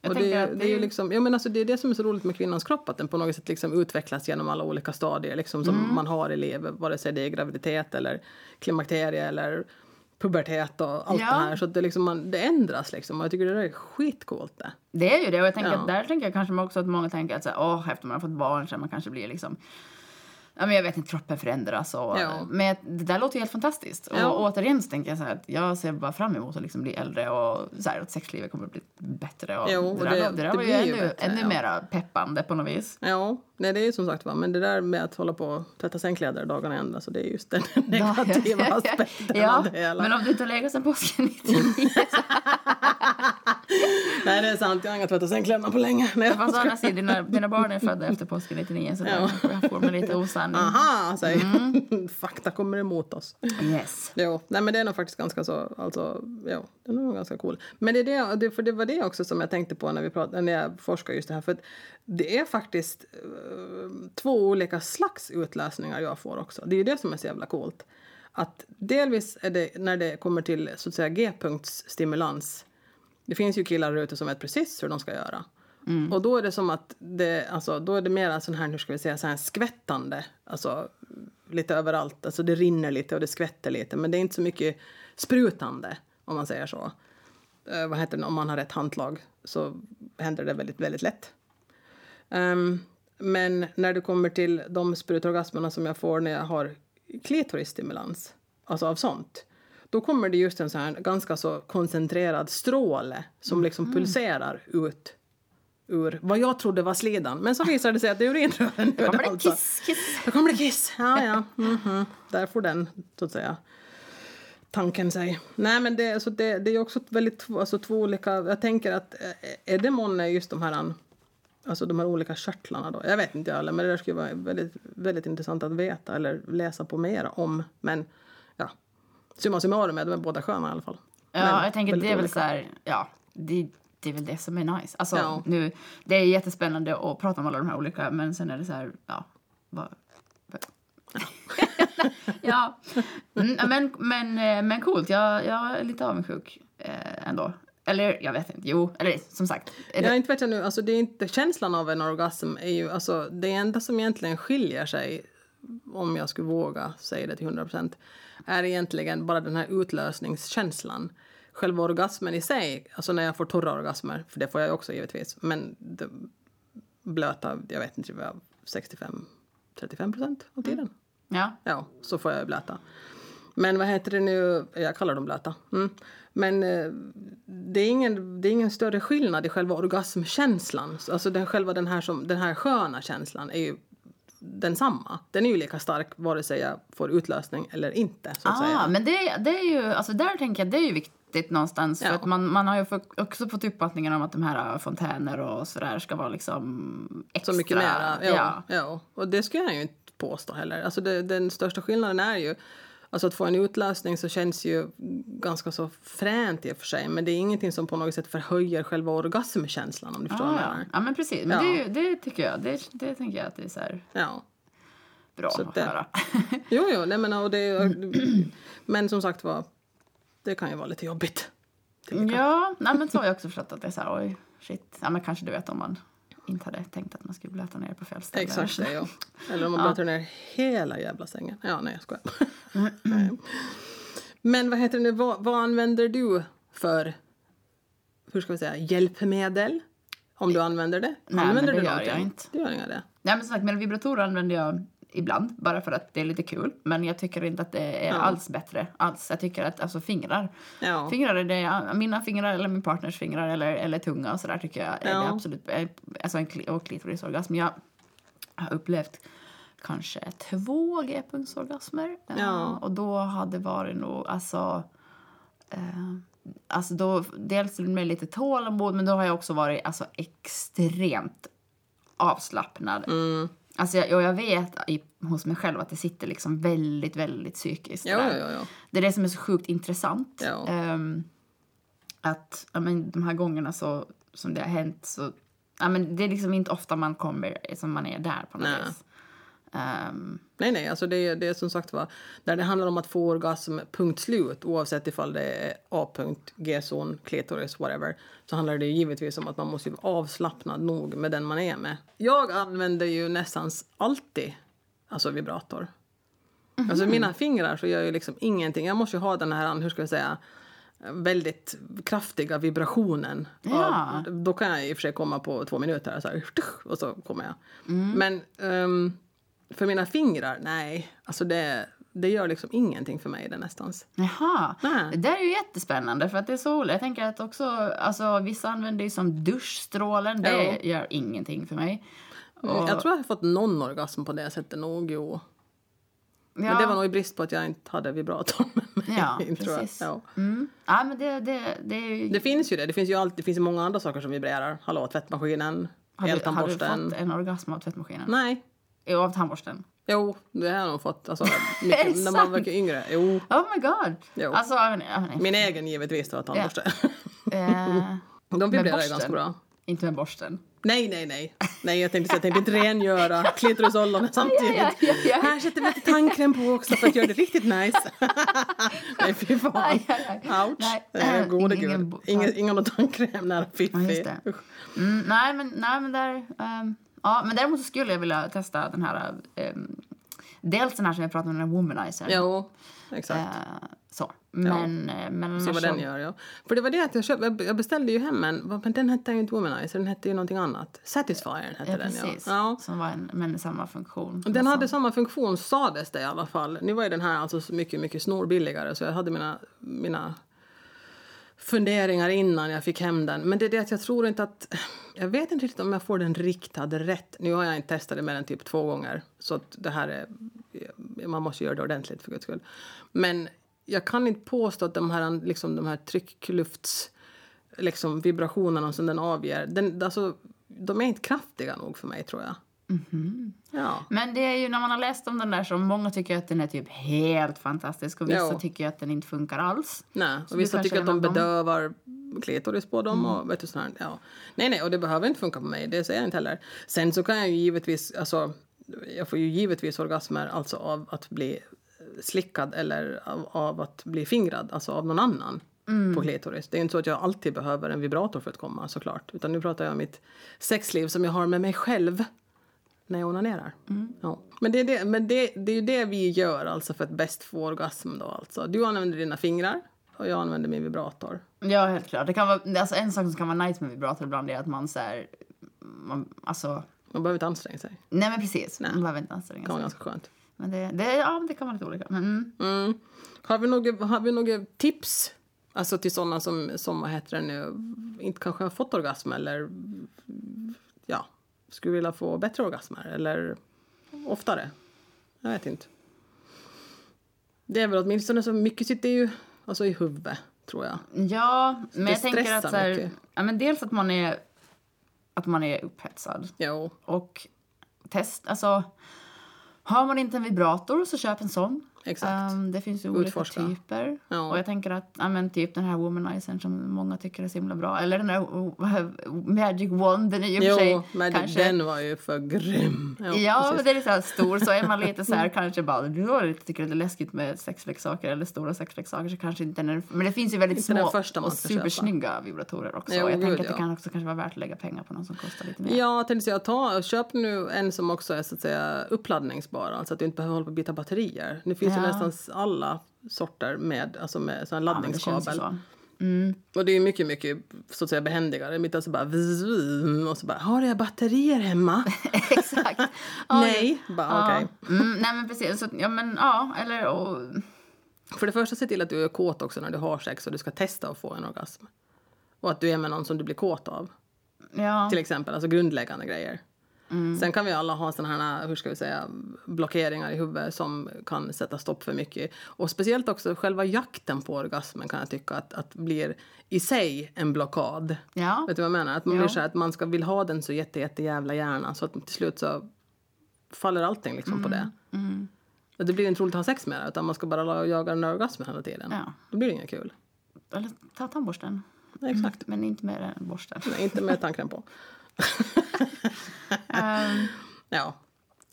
[SPEAKER 1] Jag
[SPEAKER 2] och det,
[SPEAKER 1] tänker
[SPEAKER 2] det,
[SPEAKER 1] att det
[SPEAKER 2] är ju
[SPEAKER 1] är-
[SPEAKER 2] liksom, ja, men alltså det är det som är så roligt med kvinnans kropp, att den på något sätt liksom utvecklas genom alla olika
[SPEAKER 1] Mm.
[SPEAKER 2] stadier liksom, som man har i livet, vare sig det är graviditet eller klimakterie eller pubertet och allt
[SPEAKER 1] Ja.
[SPEAKER 2] det här. Så att det, liksom, man, det ändras liksom. Och jag tycker det där är skitcoolt det.
[SPEAKER 1] Det är ju det och jag tänker
[SPEAKER 2] Ja.
[SPEAKER 1] att där tänker jag kanske också att många tänker att så här, åh, efter man har fått barn så här, man kanske blir liksom Ja, men jag vet inte, kroppen förändras och...
[SPEAKER 2] Ja.
[SPEAKER 1] Men det där låter ju helt fantastiskt.
[SPEAKER 2] Ja.
[SPEAKER 1] Och återigen så tänker jag så här att jag ser bara fram emot att liksom bli äldre och så här att sexlivet kommer att bli bättre. Och
[SPEAKER 2] Jo,
[SPEAKER 1] det, där,
[SPEAKER 2] det-
[SPEAKER 1] det, där
[SPEAKER 2] det
[SPEAKER 1] var ju
[SPEAKER 2] blir ju
[SPEAKER 1] ännu,
[SPEAKER 2] bättre,
[SPEAKER 1] ännu
[SPEAKER 2] ja.
[SPEAKER 1] mera peppande på något vis.
[SPEAKER 2] Ja, nej, det är ju som sagt va. Men det där med att hålla på och tvätta sängkläder dagarna i ända. Så det är just den negativa aspekten
[SPEAKER 1] ja,
[SPEAKER 2] av det hela.
[SPEAKER 1] men om du inte har legat sen påsken 99
[SPEAKER 2] Nej, det är sant. Jag har inga tvätta sängkläderna på länge. Nej, jag
[SPEAKER 1] Fast å
[SPEAKER 2] ska-
[SPEAKER 1] andra sidan, dina, dina barn är födda efter påsken 99 så där
[SPEAKER 2] Ja.
[SPEAKER 1] kanske jag får mig lite osanning.
[SPEAKER 2] Aha, säger
[SPEAKER 1] Mm.
[SPEAKER 2] jag. Fakta kommer emot oss.
[SPEAKER 1] Yes.
[SPEAKER 2] Jo, nej men det är nog faktiskt ganska så, alltså, jo, det är nog ganska cool. Men det, är det, det, för det var det också som jag tänkte på när, vi pratade, när jag forskar just det här, för att det är faktiskt eh, två olika slags utlösningar jag får också. Det är ju det som är så jävla coolt. Att delvis är det när det kommer till så att säga g-punktsstimulans. Det finns ju killar där ute som vet precis hur de ska göra. Och då är det som att det, alltså, då är det mer sån här, hur ska vi säga, så här skvättande. Alltså lite överallt. Alltså det rinner lite och det skvätter lite. Men det är inte så mycket sprutande om man säger så. Eh, vad heter det, om man har rätt handlag så händer det väldigt, väldigt lätt. Ehm, men när det kommer till de sprutorgasmerna som jag får när jag har klitorisstimulans, alltså av sånt, då kommer det just en så här ganska så koncentrerad stråle som liksom
[SPEAKER 1] Mm.
[SPEAKER 2] pulserar ut ur vad jag trodde var slidan. Men så visar det sig att det alltså. är urinrören.
[SPEAKER 1] Då kommer det kiss, kiss.
[SPEAKER 2] Då kommer det kiss! Ja, ja. Mhm. Där får den, så att säga, tanken sig. Nej, men det, så det, det är också väldigt två- alltså, två olika... Jag tänker att eh, är det månne just de här... an- Alltså de här olika körtlarna då. Jag vet inte jag heller, men det där skulle vara väldigt, väldigt intressant att veta eller läsa på mer om. Men ja, summa summarum är de är båda sköna i alla fall.
[SPEAKER 1] Ja,
[SPEAKER 2] Men
[SPEAKER 1] jag tänker det
[SPEAKER 2] väldigt
[SPEAKER 1] är väl
[SPEAKER 2] olika.
[SPEAKER 1] så här, ja, det, det är väl det som är nice. Alltså,
[SPEAKER 2] Ja.
[SPEAKER 1] nu, det är jättespännande att prata om alla de här olika, men sen är det så här, ja, vad... vad- ja, mm, men, men, eh, men coolt. Jag, jag är lite avundsjuk eh, ändå. Eller jag vet inte. Jo, eller som sagt. Är det,
[SPEAKER 2] Ja, inte vet jag nu. Alltså, det är inte, känslan av en orgasm är ju... Alltså, det enda som egentligen skiljer sig, om jag skulle våga säga det till 100 är egentligen bara den här utlösningskänslan. Själva orgasmen i sig, alltså när jag får torra orgasmer, för det får jag ju också givetvis, men det blöta, jag vet inte, vad, 65-35 procent av tiden.
[SPEAKER 1] ja.
[SPEAKER 2] Ja, så får jag ju blöta. Men vad heter det nu? Jag kallar dem blöta. Mm. Men eh, det är, ingen, det är ingen större skillnad i själva orgasmkänslan. Alltså den, själva den här, som, den här sköna känslan är ju densamma. Den är ju lika stark vare sig jag får utlösning eller inte. Så att säga.
[SPEAKER 1] Ah, men det, det är ju, alltså där tänker jag det är ju viktigt någonstans.
[SPEAKER 2] Ja.
[SPEAKER 1] För att man, man har ju få- också fått uppfattningen om att de här fontäner och sådär ska vara liksom extra.
[SPEAKER 2] Så mycket mera. Ja,
[SPEAKER 1] Ja.
[SPEAKER 2] ja. Och det ska jag ju inte påstå heller. Alltså det, den största skillnaden är ju Alltså att få en utlösning så känns ju ganska så fränt i och för sig men det är ingenting som på något sätt förhöjer själva orgasmkänslan om du förstår
[SPEAKER 1] Ah,
[SPEAKER 2] vad jag
[SPEAKER 1] ja.
[SPEAKER 2] menar.
[SPEAKER 1] ja, men precis. Men
[SPEAKER 2] Ja.
[SPEAKER 1] det, är ju- det tycker jag. Det, det tänker jag att det är så här
[SPEAKER 2] Ja.
[SPEAKER 1] bra
[SPEAKER 2] Så
[SPEAKER 1] att
[SPEAKER 2] det-
[SPEAKER 1] höra.
[SPEAKER 2] Jo, jo, nej men och det Men som sagt var, det kan ju vara lite jobbigt.
[SPEAKER 1] ja, nej, men så har jag också förstått att det är så här, oj, shit. Ja, men kanske du vet om man inte hade tänkt att man skulle blöta ner på fel ställe.
[SPEAKER 2] Exakt det, ja. Eller om man blöter ner hela jävla sängen. Ja, nej jag skojar. Nej. Men vad heter det nu, vad, vad använder du för, hur ska vi säga, hjälpmedel? Om du använder det?
[SPEAKER 1] men
[SPEAKER 2] använder
[SPEAKER 1] det
[SPEAKER 2] du
[SPEAKER 1] gör
[SPEAKER 2] någonting?
[SPEAKER 1] jag inte.
[SPEAKER 2] Du gör inga det?
[SPEAKER 1] Nej, men som sagt, melodibrotorer använder jag ibland bara för att det är lite kul. Men jag tycker inte att det är alls bättre. Alls. Jag tycker att alltså, fingrar,
[SPEAKER 2] Ja.
[SPEAKER 1] fingrar är det, mina fingrar eller min partners fingrar eller, eller tunga och sådär tycker jag är det
[SPEAKER 2] Ja.
[SPEAKER 1] absolut, eh, alltså en kli- och klitorisorgasm. Jag har upplevt kanske två g-punktsorgasmer eh,
[SPEAKER 2] Ja.
[SPEAKER 1] och då hade varit nog alltså Eh, alltså då, dels med lite tålamod, men då har jag också varit alltså, extremt avslappnad.
[SPEAKER 2] Mm.
[SPEAKER 1] Alltså jag, och jag vet i, hos mig själv att det sitter liksom väldigt, väldigt psykiskt.
[SPEAKER 2] Jo,
[SPEAKER 1] där.
[SPEAKER 2] jo, jo, jo.
[SPEAKER 1] Det är det som är så sjukt intressant.
[SPEAKER 2] Ja.
[SPEAKER 1] Ehm, att ja, men, de här gångerna så, som det har hänt så... Ja, men det är liksom inte ofta man kommer som man är där på något
[SPEAKER 2] Nej.
[SPEAKER 1] vis. Ehm,
[SPEAKER 2] Nej, nej, alltså det, är- det är som sagt var, när det handlar om att få orgasm, punkt slut, oavsett ifall det är A-punkt, G-zon, klitoris, whatever, så handlar det ju givetvis om att man måste ju vara avslappnad nog med den man är med. Jag använder ju nästan alltid alltså vibrator.
[SPEAKER 1] Mm.
[SPEAKER 2] Alltså mina fingrar så gör ju liksom ingenting. Jag måste ju ha den här, hur ska jag säga, väldigt kraftiga vibrationen.
[SPEAKER 1] Ja.
[SPEAKER 2] Av, då kan jag i och för sig komma på två minuter så här, och så kommer jag.
[SPEAKER 1] Mm.
[SPEAKER 2] Men ehm, för mina fingrar, nej. Alltså det, det gör liksom ingenting för mig det nästans.
[SPEAKER 1] Jaha,
[SPEAKER 2] Nej.
[SPEAKER 1] det där är ju jättespännande för att det är så olika. Jag tänker att också, alltså vissa använder ju som duschstrålen, det gör ingenting för mig. Och-
[SPEAKER 2] Jag tror jag har fått någon orgasm på det sättet nog, jo.
[SPEAKER 1] ja,
[SPEAKER 2] Men det var nog i brist på att jag inte hade vibratorn med mig.
[SPEAKER 1] Ja,
[SPEAKER 2] tror jag.
[SPEAKER 1] precis.
[SPEAKER 2] Ja.
[SPEAKER 1] Mm. Ja, men det, det, det är ju...
[SPEAKER 2] Det finns ju det. Det finns ju alltid, det finns ju många andra saker som vibrerar. Hallå, tvättmaskinen,
[SPEAKER 1] har, du, har du
[SPEAKER 2] eltandborsten.
[SPEAKER 1] fått en orgasm av tvättmaskinen?
[SPEAKER 2] Nej.
[SPEAKER 1] Jo, av tandborsten?
[SPEAKER 2] Jo, det har jag nog fått. Alltså,
[SPEAKER 1] Är det
[SPEAKER 2] mycket, när man
[SPEAKER 1] sant?
[SPEAKER 2] var yngre. Jo.
[SPEAKER 1] Oh my god!
[SPEAKER 2] Jo.
[SPEAKER 1] Alltså, jag menar- jag menar-
[SPEAKER 2] Min egen givetvis, det var tandborste.
[SPEAKER 1] eh,
[SPEAKER 2] De vibrerar ju
[SPEAKER 1] borsten?
[SPEAKER 2] ganska bra.
[SPEAKER 1] inte med borsten.
[SPEAKER 2] Nej, nej, nej. Nej, jag tänkte, jag tänkte inte rengöra klitorisollonet samtidigt.
[SPEAKER 1] Ja, ja, ja, ja.
[SPEAKER 2] Här sätter vi lite tandkräm på också för att göra det riktigt nice. nej, fy fan.
[SPEAKER 1] Aj, aj, aj.
[SPEAKER 2] Ouch.
[SPEAKER 1] Nej, äh,
[SPEAKER 2] Nej, gode
[SPEAKER 1] ingen- ingen
[SPEAKER 2] gud.
[SPEAKER 1] bo-
[SPEAKER 2] Ingen, ingen tandkräm nära
[SPEAKER 1] Ja,
[SPEAKER 2] fiffi.
[SPEAKER 1] just det. Mm, nej, men, nej, men där... ehm, ja, men däremot så skulle jag vilja testa den här... ehm, dels den här som jag pratade om, den här womanizer.
[SPEAKER 2] Jo, exakt.
[SPEAKER 1] Eh, så. Men, eh, men annars
[SPEAKER 2] Se vad den gör, ja. För det var det att jag, köpte, jag- jag beställde ju hem en, va, men den hette ju inte Womanizer, den hette ju någonting annat. Satisfyer hette
[SPEAKER 1] Ja,
[SPEAKER 2] den
[SPEAKER 1] precis.
[SPEAKER 2] ja. ja.
[SPEAKER 1] Som var en, men samma funktion.
[SPEAKER 2] Och Den hade samma funktion sades det i alla fall. Nu var ju den här alltså så mycket, mycket snorbilligare så jag hade mina, mina funderingar innan jag fick hem den. Men det är det att jag tror inte att... Jag vet inte riktigt om jag får den riktad rätt. Nu har jag inte testat det mer än typ två gånger. Så att det här är... Man måste göra det ordentligt för guds skull. Men jag kan inte påstå att de här, liksom, de här trycklufts... Liksom vibrationerna som den avger, den, alltså, de är inte kraftiga nog för mig tror jag. Ja.
[SPEAKER 1] Men det är ju när man har läst om den där som många tycker att den är typ helt fantastisk och vissa
[SPEAKER 2] Jo.
[SPEAKER 1] tycker ju att den inte funkar alls.
[SPEAKER 2] Nej, och
[SPEAKER 1] du
[SPEAKER 2] vissa
[SPEAKER 1] kanske
[SPEAKER 2] tycker att
[SPEAKER 1] är en
[SPEAKER 2] de
[SPEAKER 1] av dem? Mm.
[SPEAKER 2] bedövar klitoris på dem och vet du sånt här. Ja. Nej, nej, och det behöver inte funka på mig, det säger jag inte heller. Sen så kan jag ju givetvis, alltså, jag får ju givetvis orgasmer alltså av att bli slickad eller av, av att bli fingrad, alltså av någon annan
[SPEAKER 1] Mm.
[SPEAKER 2] på klitoris. Det är ju inte så att jag alltid behöver en vibrator för att komma såklart, utan nu pratar jag om mitt sexliv som jag har med mig själv när jag onanerar. Ja. Men, det är det, men det, det är ju det vi gör alltså för att bäst få orgasm då alltså. Du använder dina fingrar och jag använder min vibrator.
[SPEAKER 1] Ja, helt klart. Det kan vara, alltså en sak som kan vara nice med vibrator ibland är att man så här, man, alltså,
[SPEAKER 2] Man behöver inte anstränga sig.
[SPEAKER 1] nej men precis, man behöver inte anstränga
[SPEAKER 2] Det kan vara
[SPEAKER 1] sig.
[SPEAKER 2] ganska skönt.
[SPEAKER 1] Men det, det, ja, det kan vara lite olika. Men, mm.
[SPEAKER 2] Mm. Har vi några, har vi några tips? Alltså till sådana som, som vad heter det nu, inte kanske har fått orgasm eller ja, skulle vilja få bättre orgasmer eller oftare. Jag vet inte. Det är väl åtminstone så mycket sitter ju alltså i huvudet tror jag.
[SPEAKER 1] Ja, men
[SPEAKER 2] Det
[SPEAKER 1] jag tänker att
[SPEAKER 2] stressar
[SPEAKER 1] så här,
[SPEAKER 2] mycket.
[SPEAKER 1] ja, men dels att man är, att man är upphetsad.
[SPEAKER 2] Jo.
[SPEAKER 1] Och test, alltså har man inte en vibrator så köp en sån.
[SPEAKER 2] Exakt.
[SPEAKER 1] Ehm, det finns ju olika
[SPEAKER 2] Utforska.
[SPEAKER 1] typer.
[SPEAKER 2] Ja.
[SPEAKER 1] Och jag tänker att ja, men typ den här womanizern som många tycker är så himla bra. Eller den där o- o- magic wand, den är ju i och för
[SPEAKER 2] Jo,
[SPEAKER 1] sig
[SPEAKER 2] men
[SPEAKER 1] kanske...
[SPEAKER 2] den var ju för grym. Jo,
[SPEAKER 1] Ja,
[SPEAKER 2] precis. Mm.
[SPEAKER 1] men det är lite så här stor så är man lite så här kanske bara du har lite- tycker det är läskigt med sexleksaker eller stora sexleksaker så kanske inte den men det finns ju väldigt
[SPEAKER 2] Inte den
[SPEAKER 1] små
[SPEAKER 2] första man
[SPEAKER 1] och
[SPEAKER 2] ska köpa.
[SPEAKER 1] supersnygga vibratorer också
[SPEAKER 2] Jo,
[SPEAKER 1] och jag
[SPEAKER 2] gud,
[SPEAKER 1] tänker att det
[SPEAKER 2] ja.
[SPEAKER 1] kan också kanske vara värt att lägga pengar på någon som kostar lite mer.
[SPEAKER 2] Ja, jag tänkte säga, ta, köp nu en som också är så att säga uppladdningsbar, alltså att du inte behöver hålla på och byta batterier. Nu finns
[SPEAKER 1] Ja.
[SPEAKER 2] ju nästan alla sorter med, alltså med sån här
[SPEAKER 1] Ja, men det känns ju
[SPEAKER 2] laddningskabel.
[SPEAKER 1] så.
[SPEAKER 2] och det är ju mycket, mycket så att säga behändigare. Mitt alltså bara vzz, vzz, och så bara, har jag batterier hemma?
[SPEAKER 1] Exakt. Ja,
[SPEAKER 2] Nej, bara
[SPEAKER 1] Ja.
[SPEAKER 2] okej.
[SPEAKER 1] Mm, nej men precis, så, ja men ja, eller och,
[SPEAKER 2] För det första, se till att du är kåt också när du har sex och du ska testa att få en orgasm. Och att du är med någon som du blir kåt av.
[SPEAKER 1] ja.
[SPEAKER 2] till exempel, alltså grundläggande grejer. Sen kan vi alla ha sådana här, hur ska vi säga, blockeringar i huvudet som kan sätta stopp för mycket. Och speciellt också själva jakten på orgasmen kan jag tycka att, att blir i sig en blockad.
[SPEAKER 1] Ja.
[SPEAKER 2] Vet du vad jag menar? Att man
[SPEAKER 1] Ja.
[SPEAKER 2] blir så här, att man ska vill ha den så jätte, jätte jävla gärna så att till slut så faller allting liksom på det.
[SPEAKER 1] Mm,
[SPEAKER 2] Och det blir inte roligt att ha sex med det utan man ska bara la- jaga den där orgasmen hela tiden.
[SPEAKER 1] Ja.
[SPEAKER 2] Då blir det inget kul.
[SPEAKER 1] Eller ta tandborsten.
[SPEAKER 2] Exakt.
[SPEAKER 1] Men inte med den borsten.
[SPEAKER 2] Nej, inte med tandkräm på.
[SPEAKER 1] Ehm,
[SPEAKER 2] Ja.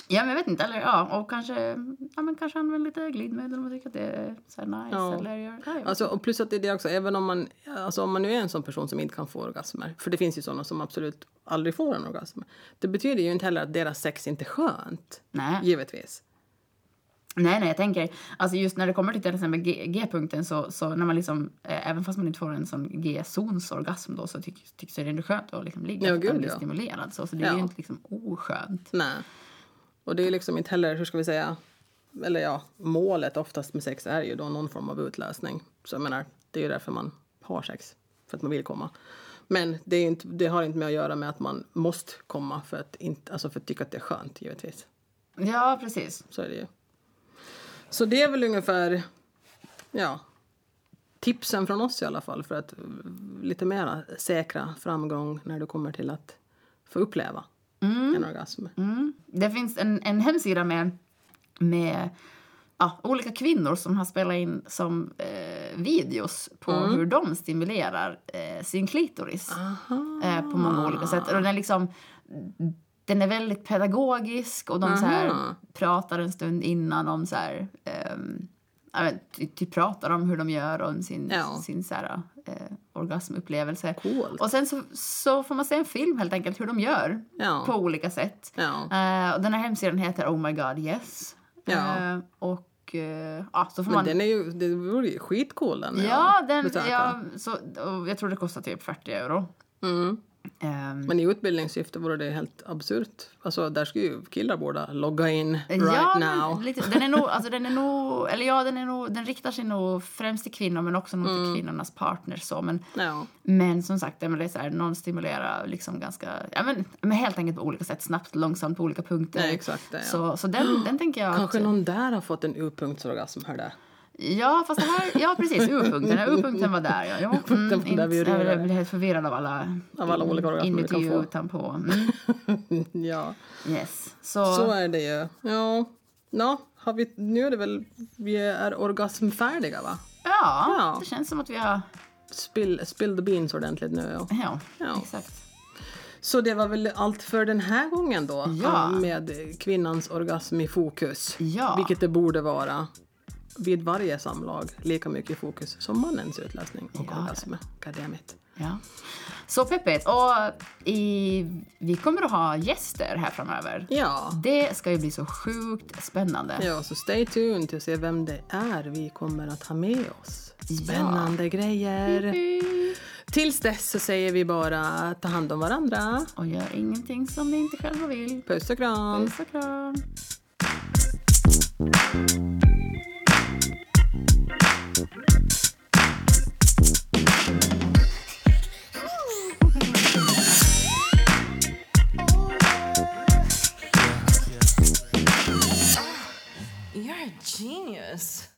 [SPEAKER 1] ja men jag vet inte, eller ja, och kanske, ja men kanske använd lite glidmedel om man tycker att det är så här nice.
[SPEAKER 2] Ja.
[SPEAKER 1] Eller, gör- ja, ja.
[SPEAKER 2] Alltså, och plus att det är det också, även om man, alltså, om man nu är en sån person som inte kan få orgasmer, för det finns ju såna som absolut aldrig får en orgasm, det betyder ju inte heller att deras sex inte är skönt,
[SPEAKER 1] Nej.
[SPEAKER 2] givetvis.
[SPEAKER 1] Nej, nej, jag tänker, alltså just när det kommer till till exempel G- G-punkten så, så när man liksom, eh, även fast man inte får en sån G-zonsorgasm då så tycks, tycks det ändå skönt att liksom ligga
[SPEAKER 2] Ja,
[SPEAKER 1] för att
[SPEAKER 2] gud,
[SPEAKER 1] man blir
[SPEAKER 2] ja.
[SPEAKER 1] stimulerad så, så det är
[SPEAKER 2] Ja.
[SPEAKER 1] ju inte liksom oskönt.
[SPEAKER 2] Nej. Och det är liksom inte heller, hur ska vi säga, eller ja, målet oftast med sex är ju då någon form av utlösning. Så jag menar, det är ju därför man har sex, för att man vill komma. Men det, är ju inte, det har inte med att göra med att man måste komma för att, inte, alltså för att tycka att det är skönt, givetvis.
[SPEAKER 1] Ja, precis.
[SPEAKER 2] Så är det ju. Så det är väl ungefär, ja, tipsen från oss i alla fall för att mm, lite mer säkra framgång när du kommer till att få uppleva en orgasm.
[SPEAKER 1] Mm. Det finns en, en hemsida med, med ja, olika kvinnor som har spelat in som eh, videos på
[SPEAKER 2] Mm.
[SPEAKER 1] hur de stimulerar eh, sin klitoris.
[SPEAKER 2] Aha.
[SPEAKER 1] eh, på många olika sätt. Och den, är liksom, den är väldigt pedagogisk och de så här,
[SPEAKER 2] Aha.
[SPEAKER 1] pratar en stund innan om så här, ehm, ja, men ty, ty pratar om hur de gör och om sin,
[SPEAKER 2] Ja.
[SPEAKER 1] sin så här, eh, orgasmupplevelse.
[SPEAKER 2] Coolt.
[SPEAKER 1] Och sen så, så får man se en film helt enkelt hur de gör
[SPEAKER 2] Ja.
[SPEAKER 1] på olika sätt.
[SPEAKER 2] Ja.
[SPEAKER 1] Eh, och den här hemsidan heter Oh My God Yes.
[SPEAKER 2] Ja.
[SPEAKER 1] Eh, och eh, ja, så får
[SPEAKER 2] Men
[SPEAKER 1] man...
[SPEAKER 2] den är ju, det vore ju skitcool den.
[SPEAKER 1] Ja, den,
[SPEAKER 2] besöka.
[SPEAKER 1] ja, så, och jag tror det kostar typ 40 euro.
[SPEAKER 2] Mm.
[SPEAKER 1] Ehm,
[SPEAKER 2] Men i utbildningssyfte vore det helt absurt. Alltså där skulle ju killar båda logga in right
[SPEAKER 1] ja, men
[SPEAKER 2] now.
[SPEAKER 1] Lite, den är nog, alltså den är nog, eller ja, den är nog, den riktar sig nog främst till kvinnor men också nog till
[SPEAKER 2] Mm.
[SPEAKER 1] kvinnornas partners så. Men,
[SPEAKER 2] Ja.
[SPEAKER 1] men som sagt, ja, men det är så här, någon stimulerar liksom ganska, ja men, men helt enkelt på olika sätt, snabbt, långsamt, på olika punkter.
[SPEAKER 2] Nej, exakt det, ja.
[SPEAKER 1] Så, så den, den tänker jag
[SPEAKER 2] Kanske
[SPEAKER 1] att,
[SPEAKER 2] någon där har fått en U-punktsorgasm, hör det.
[SPEAKER 1] Ja, fast det här, ja precis, U-punkten, ja, U-punkten var där ja. Jo,
[SPEAKER 2] U-punkten var där vi
[SPEAKER 1] inte-
[SPEAKER 2] gjorde
[SPEAKER 1] jag
[SPEAKER 2] det.
[SPEAKER 1] blev helt förvirrad av alla,
[SPEAKER 2] Av alla olika orgasmer du
[SPEAKER 1] inuti
[SPEAKER 2] kan få.
[SPEAKER 1] och utanpå. Mm,
[SPEAKER 2] ja,
[SPEAKER 1] yes. Så,
[SPEAKER 2] så är det ju. Ja, Nå, har vi, nu är det väl, vi är orgasmfärdiga va?
[SPEAKER 1] ja,
[SPEAKER 2] Ja.
[SPEAKER 1] det känns som att vi har,
[SPEAKER 2] Spill, spill the beans ordentligt nu. Ja.
[SPEAKER 1] ja,
[SPEAKER 2] Ja.
[SPEAKER 1] exakt.
[SPEAKER 2] Så det var väl allt för den här gången då.
[SPEAKER 1] Ja.
[SPEAKER 2] Med kvinnans orgasm i fokus.
[SPEAKER 1] Ja.
[SPEAKER 2] Vilket det borde vara vid varje samlag. Lika mycket i fokus som mannens utlösning och
[SPEAKER 1] Ja.
[SPEAKER 2] orgasm. God damn it.
[SPEAKER 1] Ja. Så peppigt. Och i, vi kommer att ha gäster här framöver.
[SPEAKER 2] Ja.
[SPEAKER 1] Det ska ju bli så sjukt spännande.
[SPEAKER 2] ja, så stay tuned till att se vem det är vi kommer att ha med oss. Spännande grejer. Tills dess så säger vi bara ta hand om varandra.
[SPEAKER 1] Och gör ingenting som ni inte själva vill.
[SPEAKER 2] Puss och kram.
[SPEAKER 1] Puss och kram.
[SPEAKER 3] You're a genius.